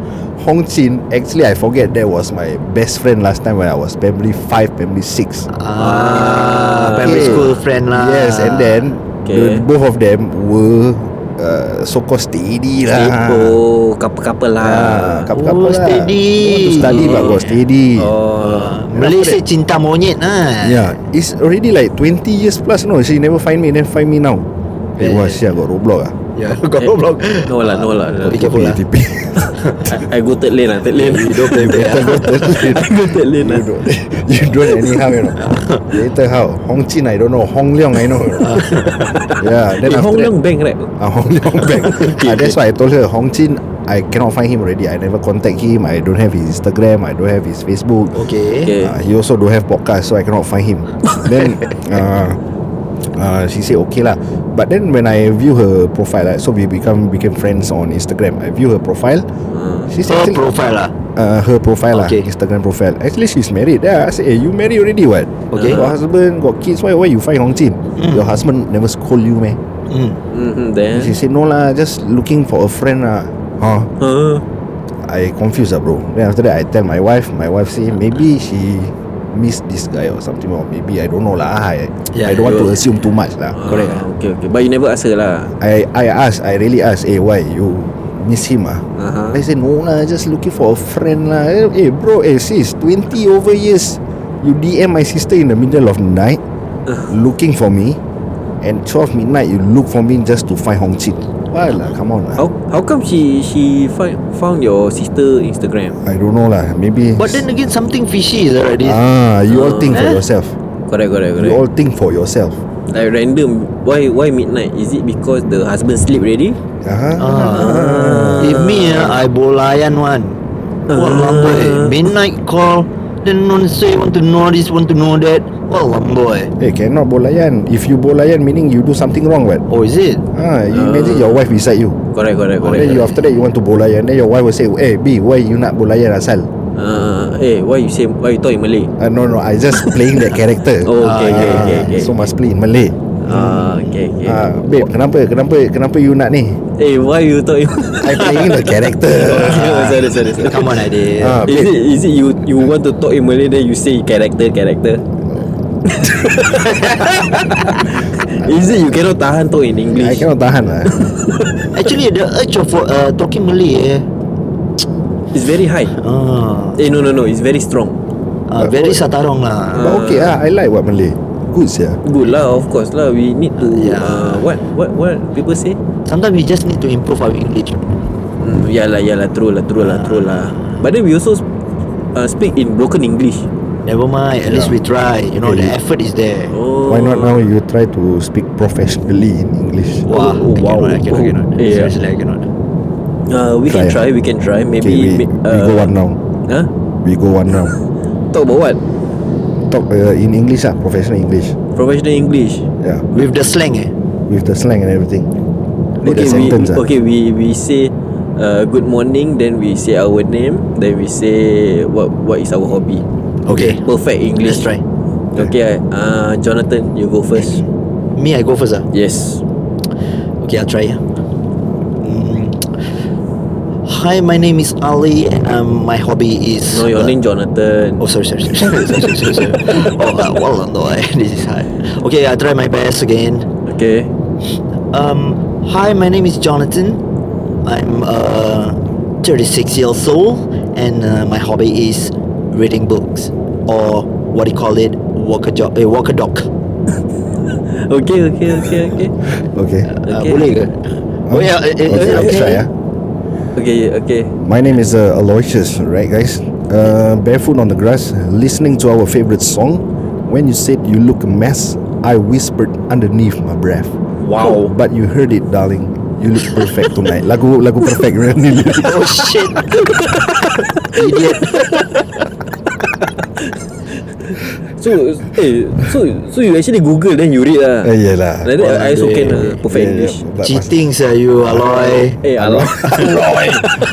[SPEAKER 1] Hong Chin, actually I forget that was my best friend last time when I was primary 5, primary 6.
[SPEAKER 2] Ah, primary
[SPEAKER 1] Okay.
[SPEAKER 2] school friend lah.
[SPEAKER 1] Yes, and then
[SPEAKER 3] Ah, Okay.
[SPEAKER 1] the, both of them were uh, so-called steady lah.
[SPEAKER 3] Oh, couple-couple
[SPEAKER 1] Ah,
[SPEAKER 3] lah.
[SPEAKER 1] couple-couple
[SPEAKER 2] Oh,
[SPEAKER 1] lah.
[SPEAKER 2] steady.
[SPEAKER 1] Don't want to study but got steady.
[SPEAKER 3] Oh.
[SPEAKER 2] Malaysia cinta monyet lah.
[SPEAKER 1] Yeah, it's already like 20 years plus no. She never find me, then find me now. It
[SPEAKER 2] Yeah.
[SPEAKER 1] was yeah, got roadblock ah.
[SPEAKER 2] Yeah, got Roblox.
[SPEAKER 3] No lah, no lah.
[SPEAKER 2] Be careful lah.
[SPEAKER 1] TP.
[SPEAKER 3] I go third lane lah, third lane.
[SPEAKER 2] You don't play bad. ah.
[SPEAKER 3] I go third lane
[SPEAKER 1] you
[SPEAKER 3] lah.
[SPEAKER 1] don't, you don't anyhow, you know. Later how? Hong Chin, I don't know. Hong Leong, I know. yeah, then
[SPEAKER 3] Eh,
[SPEAKER 1] after
[SPEAKER 3] Hong
[SPEAKER 1] that,
[SPEAKER 3] Leong Bank right?
[SPEAKER 1] Ah, Hong Leong Bank. Ah, that's why I told her Hong Chin. I cannot find him already. I never contact him. I don't have his Instagram. I don't have his Facebook.
[SPEAKER 2] Okay.
[SPEAKER 3] Okay.
[SPEAKER 1] Ah, he also don't have podcast, so I cannot find him. then, uh, uh, she said okay lah. But then when I view her profile, like, so we become became friends on Instagram. I view her profile. She
[SPEAKER 2] So
[SPEAKER 1] said
[SPEAKER 2] profile lah.
[SPEAKER 1] uh, her profile
[SPEAKER 2] Hmm. Okay.
[SPEAKER 1] lah Instagram profile Actually she's married Then I said hey, you married already what
[SPEAKER 2] Okay.
[SPEAKER 1] Got husband Got kids Why why you find Hong Jin Your husband never scold you meh
[SPEAKER 2] Hmm.
[SPEAKER 3] Mm-hmm, then.
[SPEAKER 1] She said no lah Just looking for a friend lah Huh
[SPEAKER 3] Huh?
[SPEAKER 1] I confused lah bro Then after that I tell my wife My wife say Maybe she Miss this guy or something Or maybe I don't know lah I, I
[SPEAKER 2] Yeah,
[SPEAKER 1] don't want
[SPEAKER 2] you-
[SPEAKER 1] to assume too much lah
[SPEAKER 3] Correct ah. Okay, okay. But you never ask her lah.
[SPEAKER 1] I I ask I really ask Eh why you Miss him ah I
[SPEAKER 3] Uh-huh.
[SPEAKER 1] said no lah Just looking for a friend lah Eh eh, bro Eh sis 20 over years You DM my sister in the middle of night
[SPEAKER 2] Uh.
[SPEAKER 1] Looking for me And 12 midnight You look for me Just to find Hong Chin Why lah come on
[SPEAKER 2] Oh.
[SPEAKER 1] lah
[SPEAKER 3] How how come she she find, found your sister Instagram?
[SPEAKER 1] I don't know lah Maybe
[SPEAKER 2] But then again, something fishy is already.
[SPEAKER 1] Ah, you all think for
[SPEAKER 2] Eh?
[SPEAKER 1] yourself
[SPEAKER 3] Correct, correct,
[SPEAKER 1] You
[SPEAKER 3] correct.
[SPEAKER 1] all think for yourself
[SPEAKER 3] Like random. Why why midnight? Is it because the husband sleep already?
[SPEAKER 1] Ah,
[SPEAKER 2] Uh,
[SPEAKER 3] Uh.
[SPEAKER 2] If me, ah, I bolayan one. What lama eh. Midnight call. Then want to say want to know this, want to know that. Wallah boy.
[SPEAKER 1] Hey, Eh, cannot bolayan. If you bolayan, meaning you do something wrong, what?
[SPEAKER 2] Oh, is it?
[SPEAKER 1] Ah, you imagine your wife beside you.
[SPEAKER 3] Correct correct correct
[SPEAKER 1] Then you after that you want to bolayan. Then your wife will say, "Hey, B, why you not bolayan asal?"
[SPEAKER 3] uh, Eh why you say Why you talk in Malay
[SPEAKER 1] Uh, no, no, I just playing that character.
[SPEAKER 3] Oh, okay, okay,
[SPEAKER 1] Ah,
[SPEAKER 3] okay, okay.
[SPEAKER 1] So must play in Malay.
[SPEAKER 3] Ah, okay, okay.
[SPEAKER 1] Ah, babe, kenapa, kenapa, kenapa you nak ni?
[SPEAKER 3] Eh, why you talk?
[SPEAKER 1] I playing the character.
[SPEAKER 3] Ah. sorry, sorry, sorry.
[SPEAKER 2] Come on, Adil.
[SPEAKER 1] Ah,
[SPEAKER 3] Is
[SPEAKER 1] babe.
[SPEAKER 3] it is it you you want to talk in Malay then you say character character? is it you cannot tahan talk in
[SPEAKER 1] I
[SPEAKER 3] English?
[SPEAKER 1] cannot tahan lah.
[SPEAKER 2] Actually, the urge of uh, talking Malay, eh.
[SPEAKER 3] It's very high.
[SPEAKER 2] Ah,
[SPEAKER 3] Eh no no no, it's very strong.
[SPEAKER 2] ah, very satarong lah.
[SPEAKER 3] Ah.
[SPEAKER 1] But okay lah, I like what Malay. Good sia.
[SPEAKER 3] Good lah, of course lah. We need to
[SPEAKER 2] Yeah.
[SPEAKER 3] uh, what what what people say?
[SPEAKER 2] Sometimes we just need to improve our English.
[SPEAKER 3] Mm, yeah lah, yeah lah, true lah, true lah, true lah. But then we also uh, speak in broken English.
[SPEAKER 2] Never mind. At least we try. You know, the effort is there.
[SPEAKER 3] Oh.
[SPEAKER 1] Why not now you try to speak professionally in English?
[SPEAKER 2] Wah,
[SPEAKER 3] Oh,
[SPEAKER 2] I
[SPEAKER 3] wow.
[SPEAKER 2] cannot, I cannot, I cannot.
[SPEAKER 3] Oh, yeah.
[SPEAKER 2] Seriously, I cannot.
[SPEAKER 3] Uh, we
[SPEAKER 1] Try
[SPEAKER 3] can try, we can try. Maybe
[SPEAKER 1] Okay, we,
[SPEAKER 3] ma- uh,
[SPEAKER 1] we go one round.
[SPEAKER 3] Huh?
[SPEAKER 1] We go one round.
[SPEAKER 3] Talk about what?
[SPEAKER 1] Talk uh, in English lah, professional English.
[SPEAKER 3] Professional English.
[SPEAKER 1] Yeah,
[SPEAKER 2] With the slang, eh.
[SPEAKER 1] with the slang and everything. Like the
[SPEAKER 3] okay, we,
[SPEAKER 1] sentence ah.
[SPEAKER 3] okay, we we say uh, good morning, then we say our name, then we say what what is our hobby.
[SPEAKER 2] Okay.
[SPEAKER 3] Perfect English.
[SPEAKER 2] Let's try.
[SPEAKER 3] Okay, I- uh, Jonathan, you go first.
[SPEAKER 2] Me, I go first, ah.
[SPEAKER 3] Yes.
[SPEAKER 2] Okay, I'll try. Mm. Hi, my name is Ali, and um, my hobby is.
[SPEAKER 3] No, your
[SPEAKER 2] uh,
[SPEAKER 3] name Jonathan.
[SPEAKER 2] Oh, sorry, sorry, sorry, sorry, sorry, sorry, sorry. Oh, uh, well, no, this is hard. Okay, I'll try my best again.
[SPEAKER 3] Okay.
[SPEAKER 2] Um, hi, my name is Jonathan. I'm uh, 36 years old, and uh, my hobby is reading books, or what do you call it, walk a, jo- eh, walk a dog.
[SPEAKER 3] Okay, okay, okay, okay.
[SPEAKER 1] Okay.
[SPEAKER 2] Uh,
[SPEAKER 3] Okay.
[SPEAKER 2] boleh ke? Oh, yeah,
[SPEAKER 3] uh,
[SPEAKER 2] eh, eh,
[SPEAKER 1] okay,
[SPEAKER 2] eh,
[SPEAKER 1] I'll
[SPEAKER 2] okay.
[SPEAKER 1] try ah.
[SPEAKER 3] Okay, okay.
[SPEAKER 1] My name is uh, Aloysius, right, guys? Uh, barefoot on the grass, listening to our favorite song. When you said you look a mess, I whispered underneath my breath.
[SPEAKER 3] Wow.
[SPEAKER 1] But you heard it, darling. You look perfect tonight. Lagu lagu perfect right? ni.
[SPEAKER 2] Oh, shit. Idiot.
[SPEAKER 3] So, eh, so so you actually Google then you read lah.
[SPEAKER 1] Eh, yelah.
[SPEAKER 3] Like that, I also
[SPEAKER 2] Aduh.
[SPEAKER 3] can uh, perfect
[SPEAKER 1] Yeah,
[SPEAKER 3] English.
[SPEAKER 1] yeah, but must-
[SPEAKER 2] Cheating, sir, you, Aloy.
[SPEAKER 3] Eh, Aloy.
[SPEAKER 1] Aloy.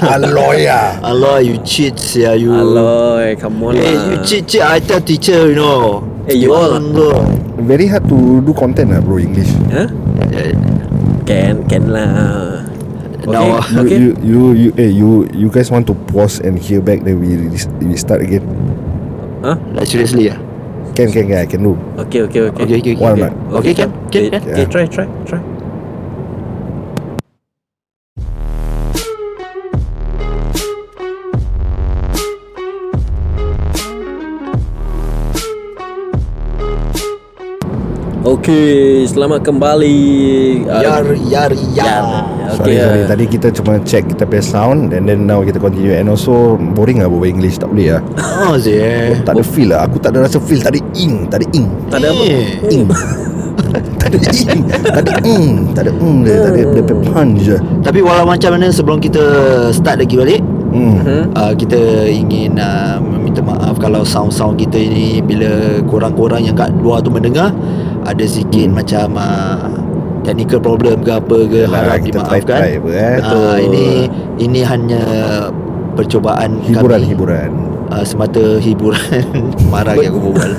[SPEAKER 1] Aloy ah.
[SPEAKER 2] Aloy, you cheat, sir, you.
[SPEAKER 3] Aloy, come on
[SPEAKER 2] Hey,
[SPEAKER 3] lah.
[SPEAKER 2] Eh, you cheat, cheat. I tell teacher, you know.
[SPEAKER 3] Eh, you all-
[SPEAKER 2] don't go.
[SPEAKER 1] Very hard to do content ah, bro English.
[SPEAKER 3] Huh?
[SPEAKER 2] Eh,
[SPEAKER 3] Can, can lah. Okay,
[SPEAKER 2] Now,
[SPEAKER 1] You,
[SPEAKER 3] okay.
[SPEAKER 1] you you you eh you you guys want to pause and hear back then we re- we start again.
[SPEAKER 3] Huh?
[SPEAKER 2] like, seriously, yeah.
[SPEAKER 1] Can can can I can do.
[SPEAKER 3] Okay, okay, okay.
[SPEAKER 2] Okay, okay, okay.
[SPEAKER 1] Why
[SPEAKER 2] okay.
[SPEAKER 1] not?
[SPEAKER 2] Okay, can, can,
[SPEAKER 3] okay,
[SPEAKER 2] can.
[SPEAKER 3] okay, try, try, try. Okey, selamat kembali.
[SPEAKER 2] Yar, yar,
[SPEAKER 3] Yar.
[SPEAKER 2] yar.
[SPEAKER 1] Sorry,
[SPEAKER 3] Okay,
[SPEAKER 1] sorry.
[SPEAKER 3] ah.
[SPEAKER 1] Tadi kita cuma check kita punya sound and then now kita continue and also boring lah berbual English tak boleh lah.
[SPEAKER 2] Oh, sih.
[SPEAKER 1] Tak ada feel lah. Aku tak ada rasa feel. Tak ada ing, tak ada ing.
[SPEAKER 3] tak ada apa.
[SPEAKER 2] Eh.
[SPEAKER 1] Ing. tak ada ing. Tak ada ing. Tak ada ing dia. Tak ada dia punya punch je.
[SPEAKER 2] Tapi walau macam mana sebelum kita start lagi balik
[SPEAKER 1] Hmm.
[SPEAKER 3] Hmm?
[SPEAKER 2] uh, Kita ingin uh, meminta maaf kalau sound-sound kita ini Bila korang-korang yang kat luar tu mendengar Ada sikit hmm. macam uh, technical problem ke apa ke
[SPEAKER 1] Yalah,
[SPEAKER 2] Harap
[SPEAKER 1] kita
[SPEAKER 2] dimaafkan
[SPEAKER 1] try-try apa, eh.
[SPEAKER 2] uh, Ini ini hanya percubaan
[SPEAKER 1] Hiburan,
[SPEAKER 2] kami
[SPEAKER 1] hiburan.
[SPEAKER 2] uh, Semata hiburan Marah yang aku berbual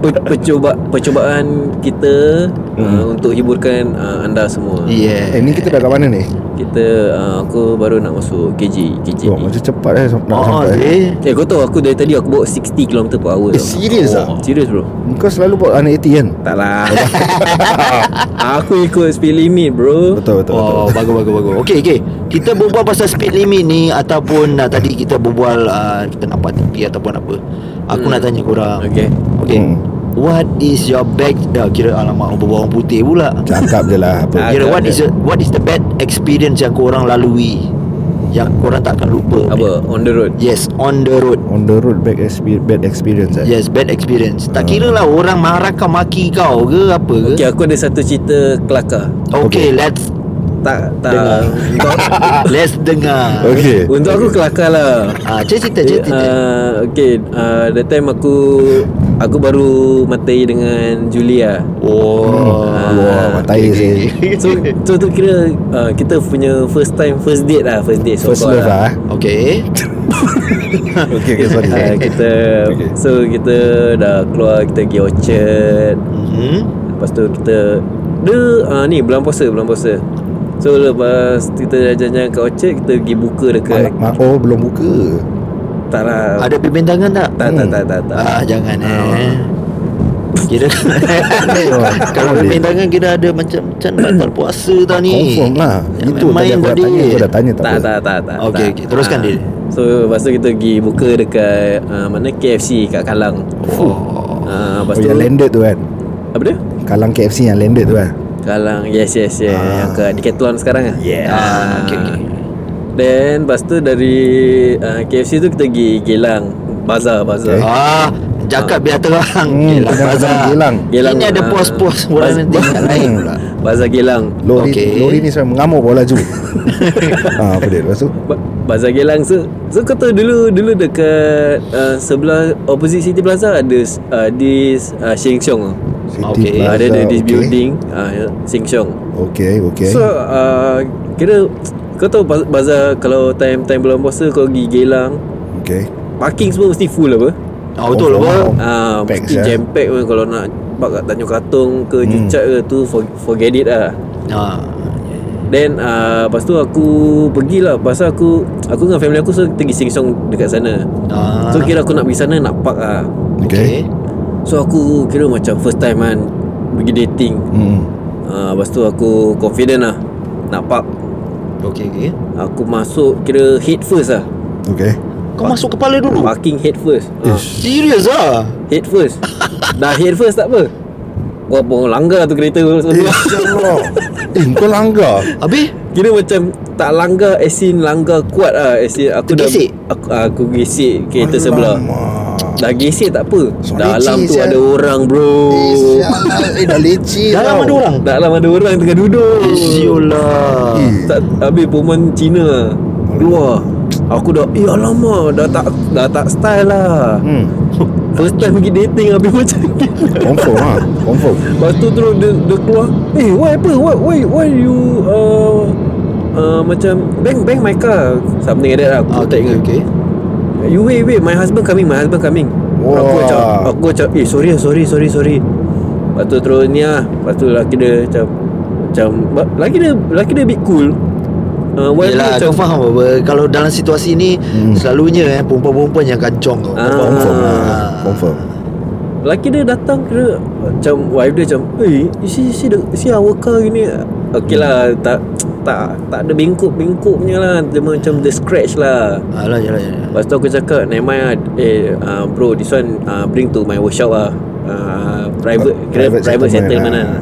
[SPEAKER 3] Pe- Percuba percubaan kita uh, untuk hiburkan uh, anda semua.
[SPEAKER 2] Yeah
[SPEAKER 1] Eh, ni kita dah kat mana ni?
[SPEAKER 3] Kita uh, aku baru nak masuk KJ, KJ.
[SPEAKER 1] Wah, macam cepat eh sam- nak
[SPEAKER 2] Oh,
[SPEAKER 1] sampai. eh.
[SPEAKER 2] sih
[SPEAKER 3] Eh kau tahu aku dari tadi aku bawa 60 km per hour
[SPEAKER 1] Eh, serious ah?
[SPEAKER 3] Serius bro
[SPEAKER 1] Kau selalu buat 180 kan?
[SPEAKER 3] Tak lah Aku ikut speed limit bro
[SPEAKER 1] Betul, betul, betul.
[SPEAKER 2] Oh bagus bagus bagus Okey okey Kita berbual pasal speed limit ni Ataupun uh, tadi kita berbual uh, Kita nampak TV ataupun apa Aku nak tanya korang
[SPEAKER 3] Okay
[SPEAKER 2] Okey
[SPEAKER 1] Hmm.
[SPEAKER 2] What is your back Dah kira alamak Berbual orang putih pula
[SPEAKER 1] Cakap je lah apa.
[SPEAKER 3] Ah,
[SPEAKER 2] Kira
[SPEAKER 3] Agak
[SPEAKER 2] what
[SPEAKER 3] ada.
[SPEAKER 2] is your, what is the bad experience Yang korang lalui Yang korang takkan lupa
[SPEAKER 3] Apa on the road
[SPEAKER 2] Yes on the road
[SPEAKER 1] On the road bad experience, bad experience eh.
[SPEAKER 2] Yes bad experience Tak kira lah orang marah kau Maki kau ke apa ke
[SPEAKER 3] Okay aku ada satu cerita kelakar
[SPEAKER 2] Okay, okay let's
[SPEAKER 3] tak tak
[SPEAKER 2] Dengar.
[SPEAKER 3] untuk,
[SPEAKER 2] Let's dengar
[SPEAKER 1] Okay.
[SPEAKER 3] untuk aku kelakar lah.
[SPEAKER 2] Ah, cik cerita, cik cerita
[SPEAKER 3] Uh, okay, uh, that time aku aku baru matai dengan Julia.
[SPEAKER 2] Oh
[SPEAKER 1] Wah, matai sih.
[SPEAKER 3] So so tu kira uh, kita punya first time first date lah first date so
[SPEAKER 1] First
[SPEAKER 3] called
[SPEAKER 1] love lah eh.
[SPEAKER 2] Okay
[SPEAKER 1] Okay, okay, sorry.
[SPEAKER 3] Uh, kita
[SPEAKER 1] Okay.
[SPEAKER 3] so kita dah keluar kita pergi Orchard.
[SPEAKER 2] Mhm.
[SPEAKER 3] Lepas tu kita dia uh, ni bulan puasa bulan puasa. So lepas kita dah jalan-jalan kat Orchard kita pergi buka
[SPEAKER 1] Malam-
[SPEAKER 3] dekat
[SPEAKER 1] ma- Oh, belum buka.
[SPEAKER 3] tak lah.
[SPEAKER 2] Ada pimpin tangan tak?
[SPEAKER 3] Tak,
[SPEAKER 1] Hmm.
[SPEAKER 3] tak tak tak tak.
[SPEAKER 2] Ah, jangan eh Kira
[SPEAKER 1] Wah,
[SPEAKER 2] Kalau
[SPEAKER 1] boleh.
[SPEAKER 2] pimpin tangan kira ada macam Macam batal puasa tau ni
[SPEAKER 1] Confirm lah.
[SPEAKER 2] Jangan
[SPEAKER 1] Itu tadi
[SPEAKER 2] main
[SPEAKER 1] aku dah
[SPEAKER 2] tadi.
[SPEAKER 1] tanya, aku dah tanya tak apa.
[SPEAKER 3] Tak
[SPEAKER 1] Oh,
[SPEAKER 3] tak tak
[SPEAKER 2] Okey,
[SPEAKER 3] tak. tak.
[SPEAKER 2] okey. Teruskan,
[SPEAKER 3] Ah.
[SPEAKER 2] Dil.
[SPEAKER 3] So lepas tu kita pergi buka dekat uh, mana KFC kat Kallang.
[SPEAKER 2] Oh
[SPEAKER 3] Ah, lepas
[SPEAKER 1] Oh,
[SPEAKER 3] tu
[SPEAKER 1] yang landed tu kan.
[SPEAKER 3] apa dia?
[SPEAKER 1] Kalang KFC yang landed tu kan.
[SPEAKER 3] Kallang. Yes yes yes.
[SPEAKER 1] Ah.
[SPEAKER 3] Yang kat Decathlon sekarang ah.
[SPEAKER 1] Yeah.
[SPEAKER 3] Ah,
[SPEAKER 2] okey, okey.
[SPEAKER 3] Then lepas tu dari uh, KFC tu kita pergi Gelang, bazar
[SPEAKER 1] Okay.
[SPEAKER 3] bazar.
[SPEAKER 2] Ah, Jakat biar terang
[SPEAKER 1] Hmm,
[SPEAKER 2] Gelang
[SPEAKER 1] jangan
[SPEAKER 2] bazar.
[SPEAKER 1] pasang gelang.
[SPEAKER 3] Gelang,
[SPEAKER 2] Ini ada
[SPEAKER 3] ah,
[SPEAKER 2] pos-pos
[SPEAKER 3] bas-
[SPEAKER 2] Orang nanti
[SPEAKER 3] bas-
[SPEAKER 2] kat lah. lain pula
[SPEAKER 3] Bazar Gelang.
[SPEAKER 1] Lori,
[SPEAKER 2] Okay.
[SPEAKER 1] lori ni sebenarnya mengamuk bawa laju. ah, apa dia? Lepas tu?
[SPEAKER 3] Ba- Bazar Gelang so, so kau tahu dulu dulu dekat uh, sebelah opposite City Plaza ada uh, this uh, Sheng Siong. Ah,
[SPEAKER 1] City
[SPEAKER 2] Okay.
[SPEAKER 1] Plaza,
[SPEAKER 3] Ada ada this
[SPEAKER 1] okay.
[SPEAKER 3] building uh, Sheng Siong.
[SPEAKER 1] Okay, okay.
[SPEAKER 3] So uh, kira kau tahu baz- bazar kalau time time bulan puasa kau pergi Gelang
[SPEAKER 1] okay.
[SPEAKER 3] parking semua mesti full apa?
[SPEAKER 2] Ah, betul
[SPEAKER 1] Confirm
[SPEAKER 2] apa?
[SPEAKER 1] lah.
[SPEAKER 3] Ah,
[SPEAKER 1] Pack
[SPEAKER 3] mesti
[SPEAKER 1] sia.
[SPEAKER 3] jam pack pun kalau nak park kat Tanjung Katong ke
[SPEAKER 1] Hmm.
[SPEAKER 3] Cucat ke tu for, forget it lah.
[SPEAKER 2] Ah,
[SPEAKER 3] Then uh, lepas tu aku pergilah pasal aku aku dengan family aku so kita pergi Sheng Siong dekat sana.
[SPEAKER 2] ah.
[SPEAKER 3] So kira aku nak pergi sana nak park ah.
[SPEAKER 1] Okay.
[SPEAKER 2] Okay.
[SPEAKER 3] So aku kira macam first time kan pergi dating.
[SPEAKER 1] Hmm.
[SPEAKER 3] Uh, lepas tu aku confident lah nak park.
[SPEAKER 2] Okay, okay.
[SPEAKER 3] Aku masuk kira head first lah.
[SPEAKER 1] Okay.
[SPEAKER 2] Kau masuk kepala dulu.
[SPEAKER 3] Parking head first. Uh,
[SPEAKER 1] Ish.
[SPEAKER 2] Serius ah.
[SPEAKER 3] head first. Dah head first tak apa. Wah, pun langgar tu kereta
[SPEAKER 1] Eh,
[SPEAKER 3] tu.
[SPEAKER 1] Allah. Eh, kau langgar.
[SPEAKER 2] Habis
[SPEAKER 3] Kira macam tak langgar as in langgar kuat lah as in aku
[SPEAKER 2] Tergesek?
[SPEAKER 3] dah aku, ah, aku gesek kereta
[SPEAKER 1] Alamak.
[SPEAKER 3] sebelah. Dah gesek tak apa.
[SPEAKER 1] So,
[SPEAKER 3] Dalam
[SPEAKER 1] leceh
[SPEAKER 3] tu
[SPEAKER 1] sia.
[SPEAKER 3] ada orang bro.
[SPEAKER 1] Eh, sial. Eh, dah leceh
[SPEAKER 2] dalam
[SPEAKER 1] tau.
[SPEAKER 2] ada orang.
[SPEAKER 3] Dalam ada orang tengah duduk.
[SPEAKER 2] Eh, Isyulah.
[SPEAKER 1] Eh.
[SPEAKER 3] Tak habis perempuan Cina keluar. Aku dah eh alamak dah tak dah tak style lah.
[SPEAKER 1] Hmm.
[SPEAKER 3] First time pergi dating habis macam ni.
[SPEAKER 1] Confirm ha. Confirm.
[SPEAKER 3] Lepas tu terus dia, dia keluar Eh why apa Why why, why you uh, uh, Macam Bang bang my car Something like that lah
[SPEAKER 2] Okay,
[SPEAKER 3] Aku tak
[SPEAKER 2] okay,
[SPEAKER 3] ingat
[SPEAKER 2] okay.
[SPEAKER 3] You wait wait My husband coming My husband coming
[SPEAKER 1] Wah.
[SPEAKER 3] Aku macam Aku macam Eh sorry lah, sorry sorry sorry Lepas tu terus ni lah Lepas tu lelaki dia macam Macam ba- Lelaki dia Lelaki dia a bit cool uh, wife dia
[SPEAKER 2] Yelah, kau faham apa? Kalau dalam situasi ni
[SPEAKER 1] Hmm.
[SPEAKER 2] Selalunya eh Perempuan-perempuan yang kancong kau
[SPEAKER 3] Ah.
[SPEAKER 1] Confirm ha.
[SPEAKER 2] Ah.
[SPEAKER 1] Confirm.
[SPEAKER 3] Lelaki dia datang kira Macam wife dia macam Eh you see, you see, the, see our car gini Okay lah Tak tak tak ada bengkok-bengkoknya lah Dia macam the scratch lah
[SPEAKER 2] Alah, yalah, yalah
[SPEAKER 3] Lepas tu aku cakap Never mind lah Eh uh, bro this one uh, Bring to my workshop lah uh, Private kira
[SPEAKER 1] Private
[SPEAKER 3] Private, private
[SPEAKER 1] settlement,
[SPEAKER 3] settlement, lah
[SPEAKER 1] ah.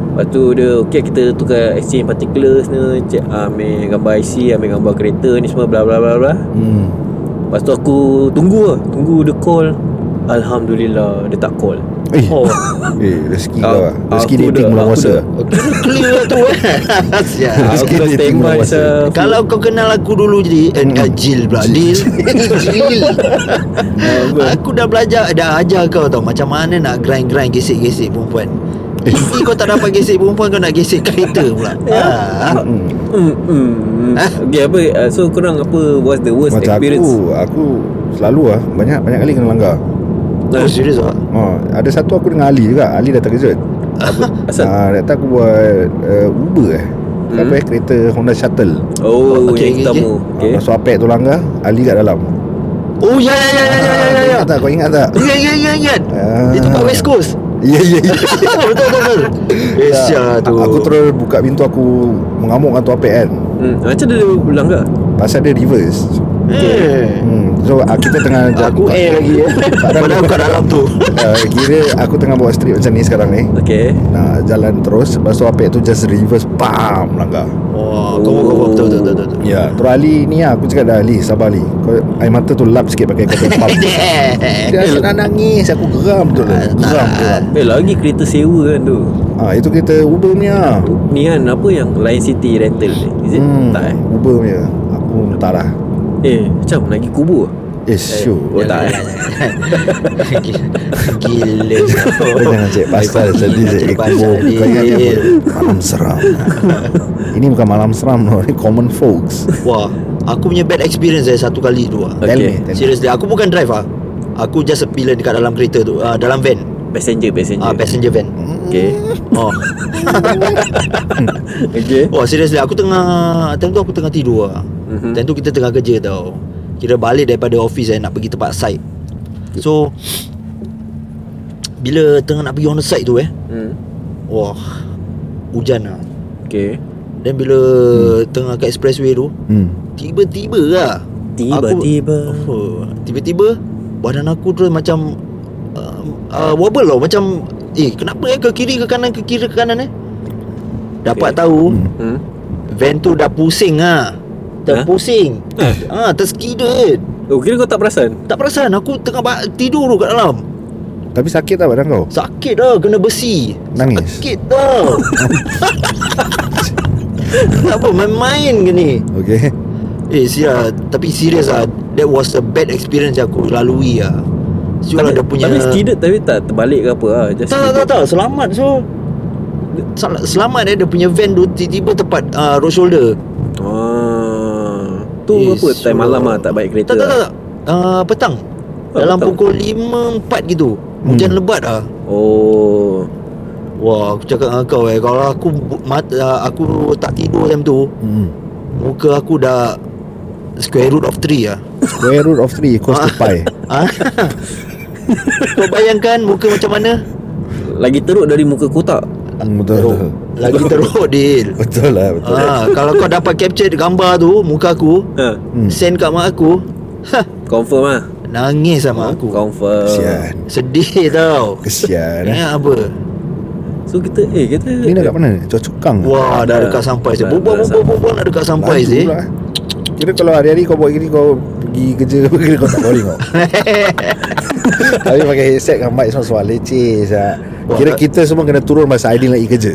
[SPEAKER 3] Lepas tu dia Okay kita tukar exchange particulars ni Cek uh, ambil gambar IC Ambil gambar kereta ni semua bla bla bla bla
[SPEAKER 1] Hmm.
[SPEAKER 3] Lepas tu aku tunggu lah Tunggu dia call Alhamdulillah Dia tak call
[SPEAKER 1] Eh.
[SPEAKER 2] Oh
[SPEAKER 1] Eh, rezeki
[SPEAKER 3] Ah,
[SPEAKER 1] kau. ah. Rezeki
[SPEAKER 3] aku
[SPEAKER 1] dating
[SPEAKER 3] dah-
[SPEAKER 1] bulan
[SPEAKER 3] aku
[SPEAKER 1] puasa.
[SPEAKER 3] dah-
[SPEAKER 2] Kira clear tu eh Sial.
[SPEAKER 1] Ah.
[SPEAKER 3] Aku
[SPEAKER 1] Sikit
[SPEAKER 3] dah
[SPEAKER 1] dia timur
[SPEAKER 3] standby
[SPEAKER 1] masa.
[SPEAKER 3] sah
[SPEAKER 2] Kalau kau kenal aku dulu jadi eh,
[SPEAKER 1] Hmm.
[SPEAKER 2] eh, Jil pula Dil Jil Aku dah belajar Dah ajar kau tau Macam mana nak grind-grind Gesek-gesek perempuan Inti kau tak dapat gesek perempuan Kau nak gesek kereta pula ah.
[SPEAKER 1] Hmm.
[SPEAKER 3] Hmm, hmm. hmm.
[SPEAKER 2] Hah?
[SPEAKER 3] Okay apa uh, So korang apa What's the
[SPEAKER 1] Ha?
[SPEAKER 3] worst
[SPEAKER 1] Macam
[SPEAKER 3] experience
[SPEAKER 1] aku, aku selalu lah banyak banyak kali kena langgar.
[SPEAKER 2] Oh serius ah?
[SPEAKER 1] Ha, ada satu aku dengan Ali juga. Ali dah terkejut.
[SPEAKER 3] Asal
[SPEAKER 1] Ah, uh, aku buat uh, Uber eh. Hmm. Apa eh, kereta Honda Shuttle.
[SPEAKER 3] Oh
[SPEAKER 2] Okay,
[SPEAKER 3] yang hitam
[SPEAKER 2] okay,
[SPEAKER 3] tu
[SPEAKER 1] Okay.
[SPEAKER 3] Okay
[SPEAKER 1] Masuk apek tu langgar, Ali kat dalam. Ha,
[SPEAKER 2] Oh ya ya ya ya ya ya ya
[SPEAKER 1] Kau ingat tak? Kau ingat tak?
[SPEAKER 2] Ingat ingat ingat ingat
[SPEAKER 1] Ah.
[SPEAKER 2] Itu kat ya. West Coast
[SPEAKER 1] Ya, ya, ya.
[SPEAKER 2] Betul betul betul Eh sial tu
[SPEAKER 1] Aku terus buka pintu aku mengamuk dengan tu apek kan.
[SPEAKER 3] hmm. Macam dia bilang ke
[SPEAKER 1] Pasal dia reverse.
[SPEAKER 2] Eh
[SPEAKER 1] Hmm. So uh, kita tengah
[SPEAKER 2] Aku air lagi ya Padahal aku kat dalam tu
[SPEAKER 1] uh, Kira aku tengah bawa street macam ni sekarang ni
[SPEAKER 3] Okay
[SPEAKER 1] Nah, jalan terus Lepas tu apek tu just reverse Bam Langgar
[SPEAKER 2] Wah Kau kau kau Betul betul betul, betul
[SPEAKER 1] Ya Terus Ali ni lah Aku cakap dah Ali Sabar Ali Kau air mata tu lap sikit Pakai kau punya pump Dia asyik nak nangis Aku geram tu lah Geram geram
[SPEAKER 3] Eh lagi kereta sewa kan tu
[SPEAKER 1] Ah Itu kereta Uber punya
[SPEAKER 3] Ni kan apa yang Lion City rental ni Is it?
[SPEAKER 1] hmm,
[SPEAKER 3] Tak eh
[SPEAKER 1] Uber punya Aku tak lah
[SPEAKER 3] Eh macam lagi kubur
[SPEAKER 1] Eh syuk
[SPEAKER 3] Oh tak eh
[SPEAKER 2] Gila
[SPEAKER 1] Kau jangan cek pasal Jadi cek
[SPEAKER 2] Cek pasal
[SPEAKER 1] Kau
[SPEAKER 2] ni.
[SPEAKER 1] ingat ni apa? Malam seram Ini bukan malam seram no. Ini common folks
[SPEAKER 2] Wah Aku punya bad experience eh Satu kali tu ah.
[SPEAKER 1] Tell me
[SPEAKER 3] Okay.
[SPEAKER 1] tell me.
[SPEAKER 2] Seriously Aku bukan drive ah. Aku just a pillion Dekat dalam kereta tu ah, Dalam van
[SPEAKER 3] Passenger passenger
[SPEAKER 2] ah, Passenger van
[SPEAKER 3] Okay
[SPEAKER 2] Oh
[SPEAKER 3] Okay
[SPEAKER 2] Wah seriously Aku tengah Time tu aku tengah tidur lah
[SPEAKER 3] Mhm.
[SPEAKER 2] mm-hmm. Time tu kita tengah kerja tau Kira balik daripada office eh Nak pergi tempat site So Bila tengah nak pergi on the site tu eh
[SPEAKER 3] hmm.
[SPEAKER 2] Wah Hujan lah
[SPEAKER 3] Okay
[SPEAKER 2] Then bila Tengah kat expressway tu
[SPEAKER 1] hmm.
[SPEAKER 2] Tiba-tiba lah
[SPEAKER 3] Tiba-tiba.
[SPEAKER 2] aku, oh, Tiba-tiba Badan aku terus macam uh, uh, Wobble tau Macam Eh kenapa eh Ke kiri ke kanan Ke kiri ke kanan eh Dapat
[SPEAKER 3] Okay.
[SPEAKER 2] tahu
[SPEAKER 3] hmm.
[SPEAKER 2] Van tu dah pusing ah.
[SPEAKER 3] Ha?
[SPEAKER 2] Dah pusing.
[SPEAKER 3] Eh.
[SPEAKER 2] Ah, ha, terskidet.
[SPEAKER 3] Oh kira kau tak perasan
[SPEAKER 2] Tak perasan aku tengah ba- tidur tu kat dalam.
[SPEAKER 1] Tapi sakit tak badan kau?
[SPEAKER 2] Sakit dah kena besi.
[SPEAKER 1] Nangis?
[SPEAKER 2] Sakit dah. tak apa main-main ke ni.
[SPEAKER 1] Okay
[SPEAKER 2] Eh sia, tapi serius ah, that was a bad experience yang aku lalui ah. Sure
[SPEAKER 3] Tapi-
[SPEAKER 2] dia punya
[SPEAKER 3] Tapi tidak Tapi tak terbalik ke apa lah Just
[SPEAKER 2] Tak tak tak, tak. selamat so Sel- Selamat eh dia punya van tu tiba-tiba tepat uh, road shoulder.
[SPEAKER 3] Ah. Tu
[SPEAKER 2] Eh,
[SPEAKER 3] apa Time
[SPEAKER 2] sure.
[SPEAKER 3] malam lah Tak baik
[SPEAKER 2] Tak
[SPEAKER 3] kereta
[SPEAKER 2] tak tak,
[SPEAKER 3] lah.
[SPEAKER 2] tak. Uh, petang.
[SPEAKER 3] Ah,
[SPEAKER 2] Dalam
[SPEAKER 3] petang. Hmm.
[SPEAKER 2] pukul 5.4 gitu. Hujan lebat ah.
[SPEAKER 3] Oh
[SPEAKER 2] Wah, aku cakap dengan kau eh kalau aku bu- mata aku tak tidur time tu,
[SPEAKER 1] hmm.
[SPEAKER 2] muka aku dah square root of 3 ah.
[SPEAKER 1] Square root of 3 equals to pi
[SPEAKER 2] Ha? kau bayangkan muka macam mana?
[SPEAKER 3] Lagi teruk dari muka kotak
[SPEAKER 1] Hmm, Betul
[SPEAKER 3] Oh.
[SPEAKER 1] betul.
[SPEAKER 2] Lagi teruk deal.
[SPEAKER 1] Betul lah
[SPEAKER 3] Ah.
[SPEAKER 1] betul
[SPEAKER 2] Ha, kalau kau dapat capture gambar tu muka aku,
[SPEAKER 3] ha.
[SPEAKER 1] Hmm.
[SPEAKER 2] send kat mak aku, ha,
[SPEAKER 3] Confirm lah
[SPEAKER 2] nangis sama aku.
[SPEAKER 3] Confirm
[SPEAKER 1] Kesian
[SPEAKER 2] Sedih tau.
[SPEAKER 1] Kesian eh.
[SPEAKER 2] Ingat apa?
[SPEAKER 3] So kita Eh kita
[SPEAKER 1] Ni nak kat mana? Cuaca kang
[SPEAKER 2] Wah, dah
[SPEAKER 3] Dah-
[SPEAKER 2] dekat sampai
[SPEAKER 3] dah-
[SPEAKER 2] sih.
[SPEAKER 3] dah sampai.
[SPEAKER 2] Bubuh-bubuh nak dekat sampai sih.
[SPEAKER 1] pula. lah, eh. Kira kalau hari-hari kau buat gini Kau pergi kerja apa Kira kau tak boring kau Tapi pakai headset dengan mic Semua soal leceh sah. Kira kita semua kena turun Masa Aidil lagi kerja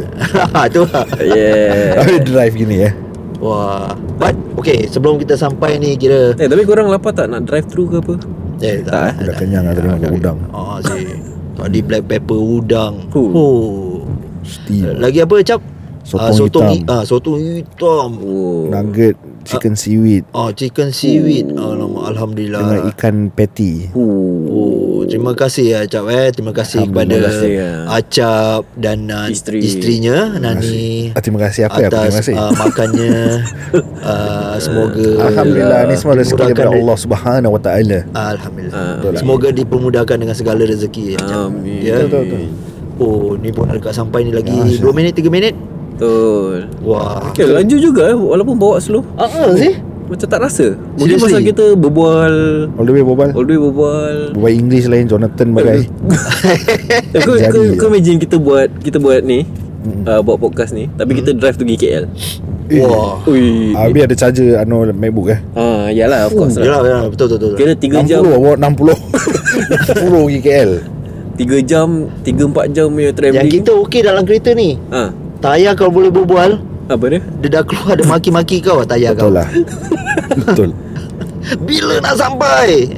[SPEAKER 2] tu lah.
[SPEAKER 3] Yeah
[SPEAKER 1] Tapi drive gini eh
[SPEAKER 2] Wah. But okay, sebelum kita sampai ni kira
[SPEAKER 3] Eh tapi korang lapar tak Nak drive through ke apa
[SPEAKER 2] eh
[SPEAKER 3] Tak, eh?
[SPEAKER 2] tak.
[SPEAKER 1] Dah kenyang lah tadi makan udang
[SPEAKER 2] Oh, si. Tadi black pepper udang.
[SPEAKER 3] Huh.
[SPEAKER 2] Oh.
[SPEAKER 1] Steam
[SPEAKER 2] Lagi apa cap?
[SPEAKER 1] Sotong
[SPEAKER 2] Ah, sotong ah.
[SPEAKER 1] hitam.
[SPEAKER 2] hi- ah, sotong hitam.
[SPEAKER 3] Oh
[SPEAKER 1] Nugget Chicken seaweed
[SPEAKER 2] Oh, chicken seaweed. Alamak,
[SPEAKER 1] Dengan
[SPEAKER 2] alhamdulillah.
[SPEAKER 1] ikan patty
[SPEAKER 3] Oh
[SPEAKER 2] Oh, terima kasih ya Acap eh. Terima kasih kepada
[SPEAKER 3] Terima kasih, ya.
[SPEAKER 2] Acap dan uh,
[SPEAKER 3] Isteri.
[SPEAKER 2] isterinya Nani.
[SPEAKER 1] Ah, Terima kasih apa ya Terima
[SPEAKER 2] atas
[SPEAKER 1] kasih
[SPEAKER 2] uh, makannya uh, semoga
[SPEAKER 1] Alhamdulillah ni semua rezeki
[SPEAKER 2] dimudahkan
[SPEAKER 1] daripada
[SPEAKER 2] de-
[SPEAKER 1] Allah Subhanahu Wa Taala.
[SPEAKER 2] Alhamdulillah.
[SPEAKER 3] Ah,
[SPEAKER 1] betul lah.
[SPEAKER 2] semoga dipermudahkan dengan segala rezeki. Macam,
[SPEAKER 3] Amin.
[SPEAKER 2] Ya.
[SPEAKER 1] Betul, betul, betul.
[SPEAKER 2] Oh, ni pun dekat sampai ni lagi
[SPEAKER 1] Ya,
[SPEAKER 2] 2 minit 3 minit.
[SPEAKER 3] Betul
[SPEAKER 2] Wah.
[SPEAKER 3] Okay laju juga eh Walaupun bawa slow
[SPEAKER 2] Ah, ah
[SPEAKER 1] Oh.
[SPEAKER 2] sih.
[SPEAKER 3] Macam tak rasa Mungkin
[SPEAKER 2] Seriously?
[SPEAKER 3] pasal kita berbual
[SPEAKER 1] All the way bobal.
[SPEAKER 3] All the way berbual
[SPEAKER 1] Bobal English lain Jonathan bagai.
[SPEAKER 3] Eh, kau,
[SPEAKER 1] Jadi
[SPEAKER 3] kau,
[SPEAKER 1] je.
[SPEAKER 3] kau imagine kita buat Kita buat ni uh, Buat podcast ni Tapi kita drive pergi KL
[SPEAKER 2] Eh, Wah.
[SPEAKER 1] Eh,
[SPEAKER 3] Ui
[SPEAKER 1] Habis ada charger anu MacBook eh.
[SPEAKER 3] Ah, Yalah of course lah
[SPEAKER 2] Yalah, yalah, betul betul betul.
[SPEAKER 3] Kira 3 jam
[SPEAKER 1] 60 awak 60. 60 pergi KL.
[SPEAKER 3] 3 jam 3-4 jam punya
[SPEAKER 2] Yang
[SPEAKER 3] travelling
[SPEAKER 2] kita okey dalam kereta ni.
[SPEAKER 3] ah,
[SPEAKER 2] Tayar kalau boleh berbual,
[SPEAKER 3] Apa dia?
[SPEAKER 2] dia dah keluar ada maki-maki kau tayar
[SPEAKER 1] Betul
[SPEAKER 2] kau.
[SPEAKER 1] lah. Betul.
[SPEAKER 2] Bila nak sampai?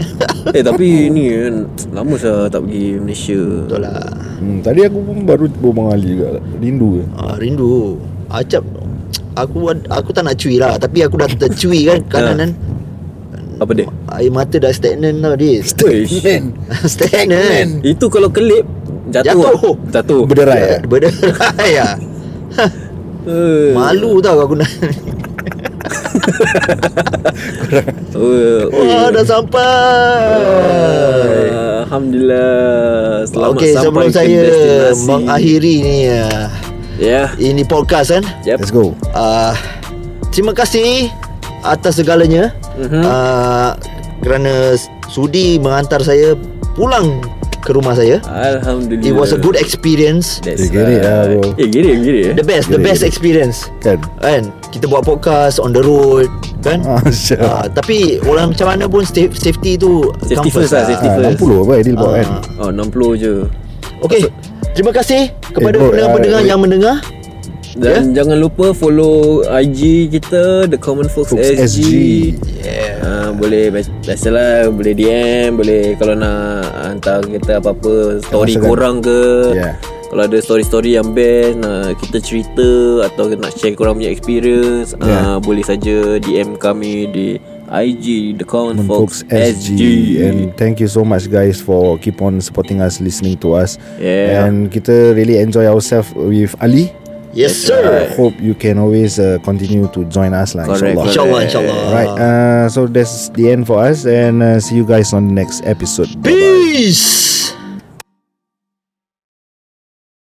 [SPEAKER 3] Eh tapi ni kan Lama saya tak pergi Malaysia
[SPEAKER 2] betul lah.
[SPEAKER 1] Hmm, tadi aku pun baru berbual dengan Ali juga. Rindu ke?
[SPEAKER 2] Ah, rindu. Acap aku ad- aku tak nak cui lah tapi aku dah tercui kan
[SPEAKER 3] Ya.
[SPEAKER 2] kanan kan. Ah,
[SPEAKER 3] Apa dia?
[SPEAKER 2] Air mata dah stagnant tau dia.
[SPEAKER 3] Uish.
[SPEAKER 2] stagnant.
[SPEAKER 3] Itu kalau kelip Jatuh
[SPEAKER 2] Jatuh.
[SPEAKER 3] ah. Jatuh
[SPEAKER 1] Berderai eh?
[SPEAKER 2] Berderai ah.
[SPEAKER 3] Eh,
[SPEAKER 2] Malu tau aku nak.
[SPEAKER 3] eh, oi.
[SPEAKER 2] Wah, dah sampai.
[SPEAKER 3] Ah, Alhamdulillah Selamat
[SPEAKER 2] Okey,
[SPEAKER 3] sampai
[SPEAKER 2] sebelum
[SPEAKER 3] ke
[SPEAKER 2] saya
[SPEAKER 3] destinasi
[SPEAKER 2] mengakhiri ni ah,
[SPEAKER 3] Ya
[SPEAKER 2] ini podcast kan.
[SPEAKER 3] yeah.
[SPEAKER 1] Let's go.
[SPEAKER 2] Ah, terima kasih atas segalanya.
[SPEAKER 3] Mhm.
[SPEAKER 2] Ah, kerana sudi menghantar saya pulang ke rumah saya.
[SPEAKER 3] Alhamdulillah.
[SPEAKER 2] It was a good experience.
[SPEAKER 1] Eh,
[SPEAKER 3] That's
[SPEAKER 1] get it lah,
[SPEAKER 3] right.
[SPEAKER 1] bro.
[SPEAKER 3] Eh, get it, get it.
[SPEAKER 2] The best, the
[SPEAKER 1] Gila,
[SPEAKER 2] best
[SPEAKER 1] gila.
[SPEAKER 2] experience.
[SPEAKER 1] Kan
[SPEAKER 2] Kan? Kita buat podcast on the road, kan?
[SPEAKER 1] Ah, siap.
[SPEAKER 2] Ah, tapi orang macam mana pun sta- safety tu come
[SPEAKER 3] Safety first lah, safety
[SPEAKER 1] Ah,
[SPEAKER 3] first.
[SPEAKER 1] 60 apa Aidil bawa kan
[SPEAKER 3] Oh, 60 je.
[SPEAKER 2] Okay. Terima kasih kepada
[SPEAKER 1] Eh, bro,
[SPEAKER 2] pendengar-pendengar
[SPEAKER 1] ah,
[SPEAKER 2] yang mendengar.
[SPEAKER 3] Dan jangan lupa follow IG kita The Common Folks,
[SPEAKER 1] Folks
[SPEAKER 3] SG.
[SPEAKER 1] SG.
[SPEAKER 2] Yeah.
[SPEAKER 3] Ah, boleh bias- biasalah boleh DM, boleh kalau nak hantar kita apa-apa story
[SPEAKER 1] masukkan.
[SPEAKER 3] korang ke.
[SPEAKER 1] Yeah.
[SPEAKER 3] Kalau ada story-story yang best nak kita cerita atau nak share korang punya experience,
[SPEAKER 1] Yeah.
[SPEAKER 3] yeah. boleh saja DM kami di IG The
[SPEAKER 1] Common
[SPEAKER 3] Common Folks,
[SPEAKER 1] Folks SG. and thank you so much guys for keep on supporting us listening to us
[SPEAKER 3] Yeah.
[SPEAKER 1] and kita really enjoy ourselves with Ali
[SPEAKER 2] Yes, sir.
[SPEAKER 3] Alright.
[SPEAKER 1] hope you can always uh, continue to join us lah
[SPEAKER 3] Correct,
[SPEAKER 1] insyaallah
[SPEAKER 2] Inshallah, inshallah.
[SPEAKER 1] right uh, so that's the end for us and uh, see you guys on the next episode Bye-bye.
[SPEAKER 2] Peace.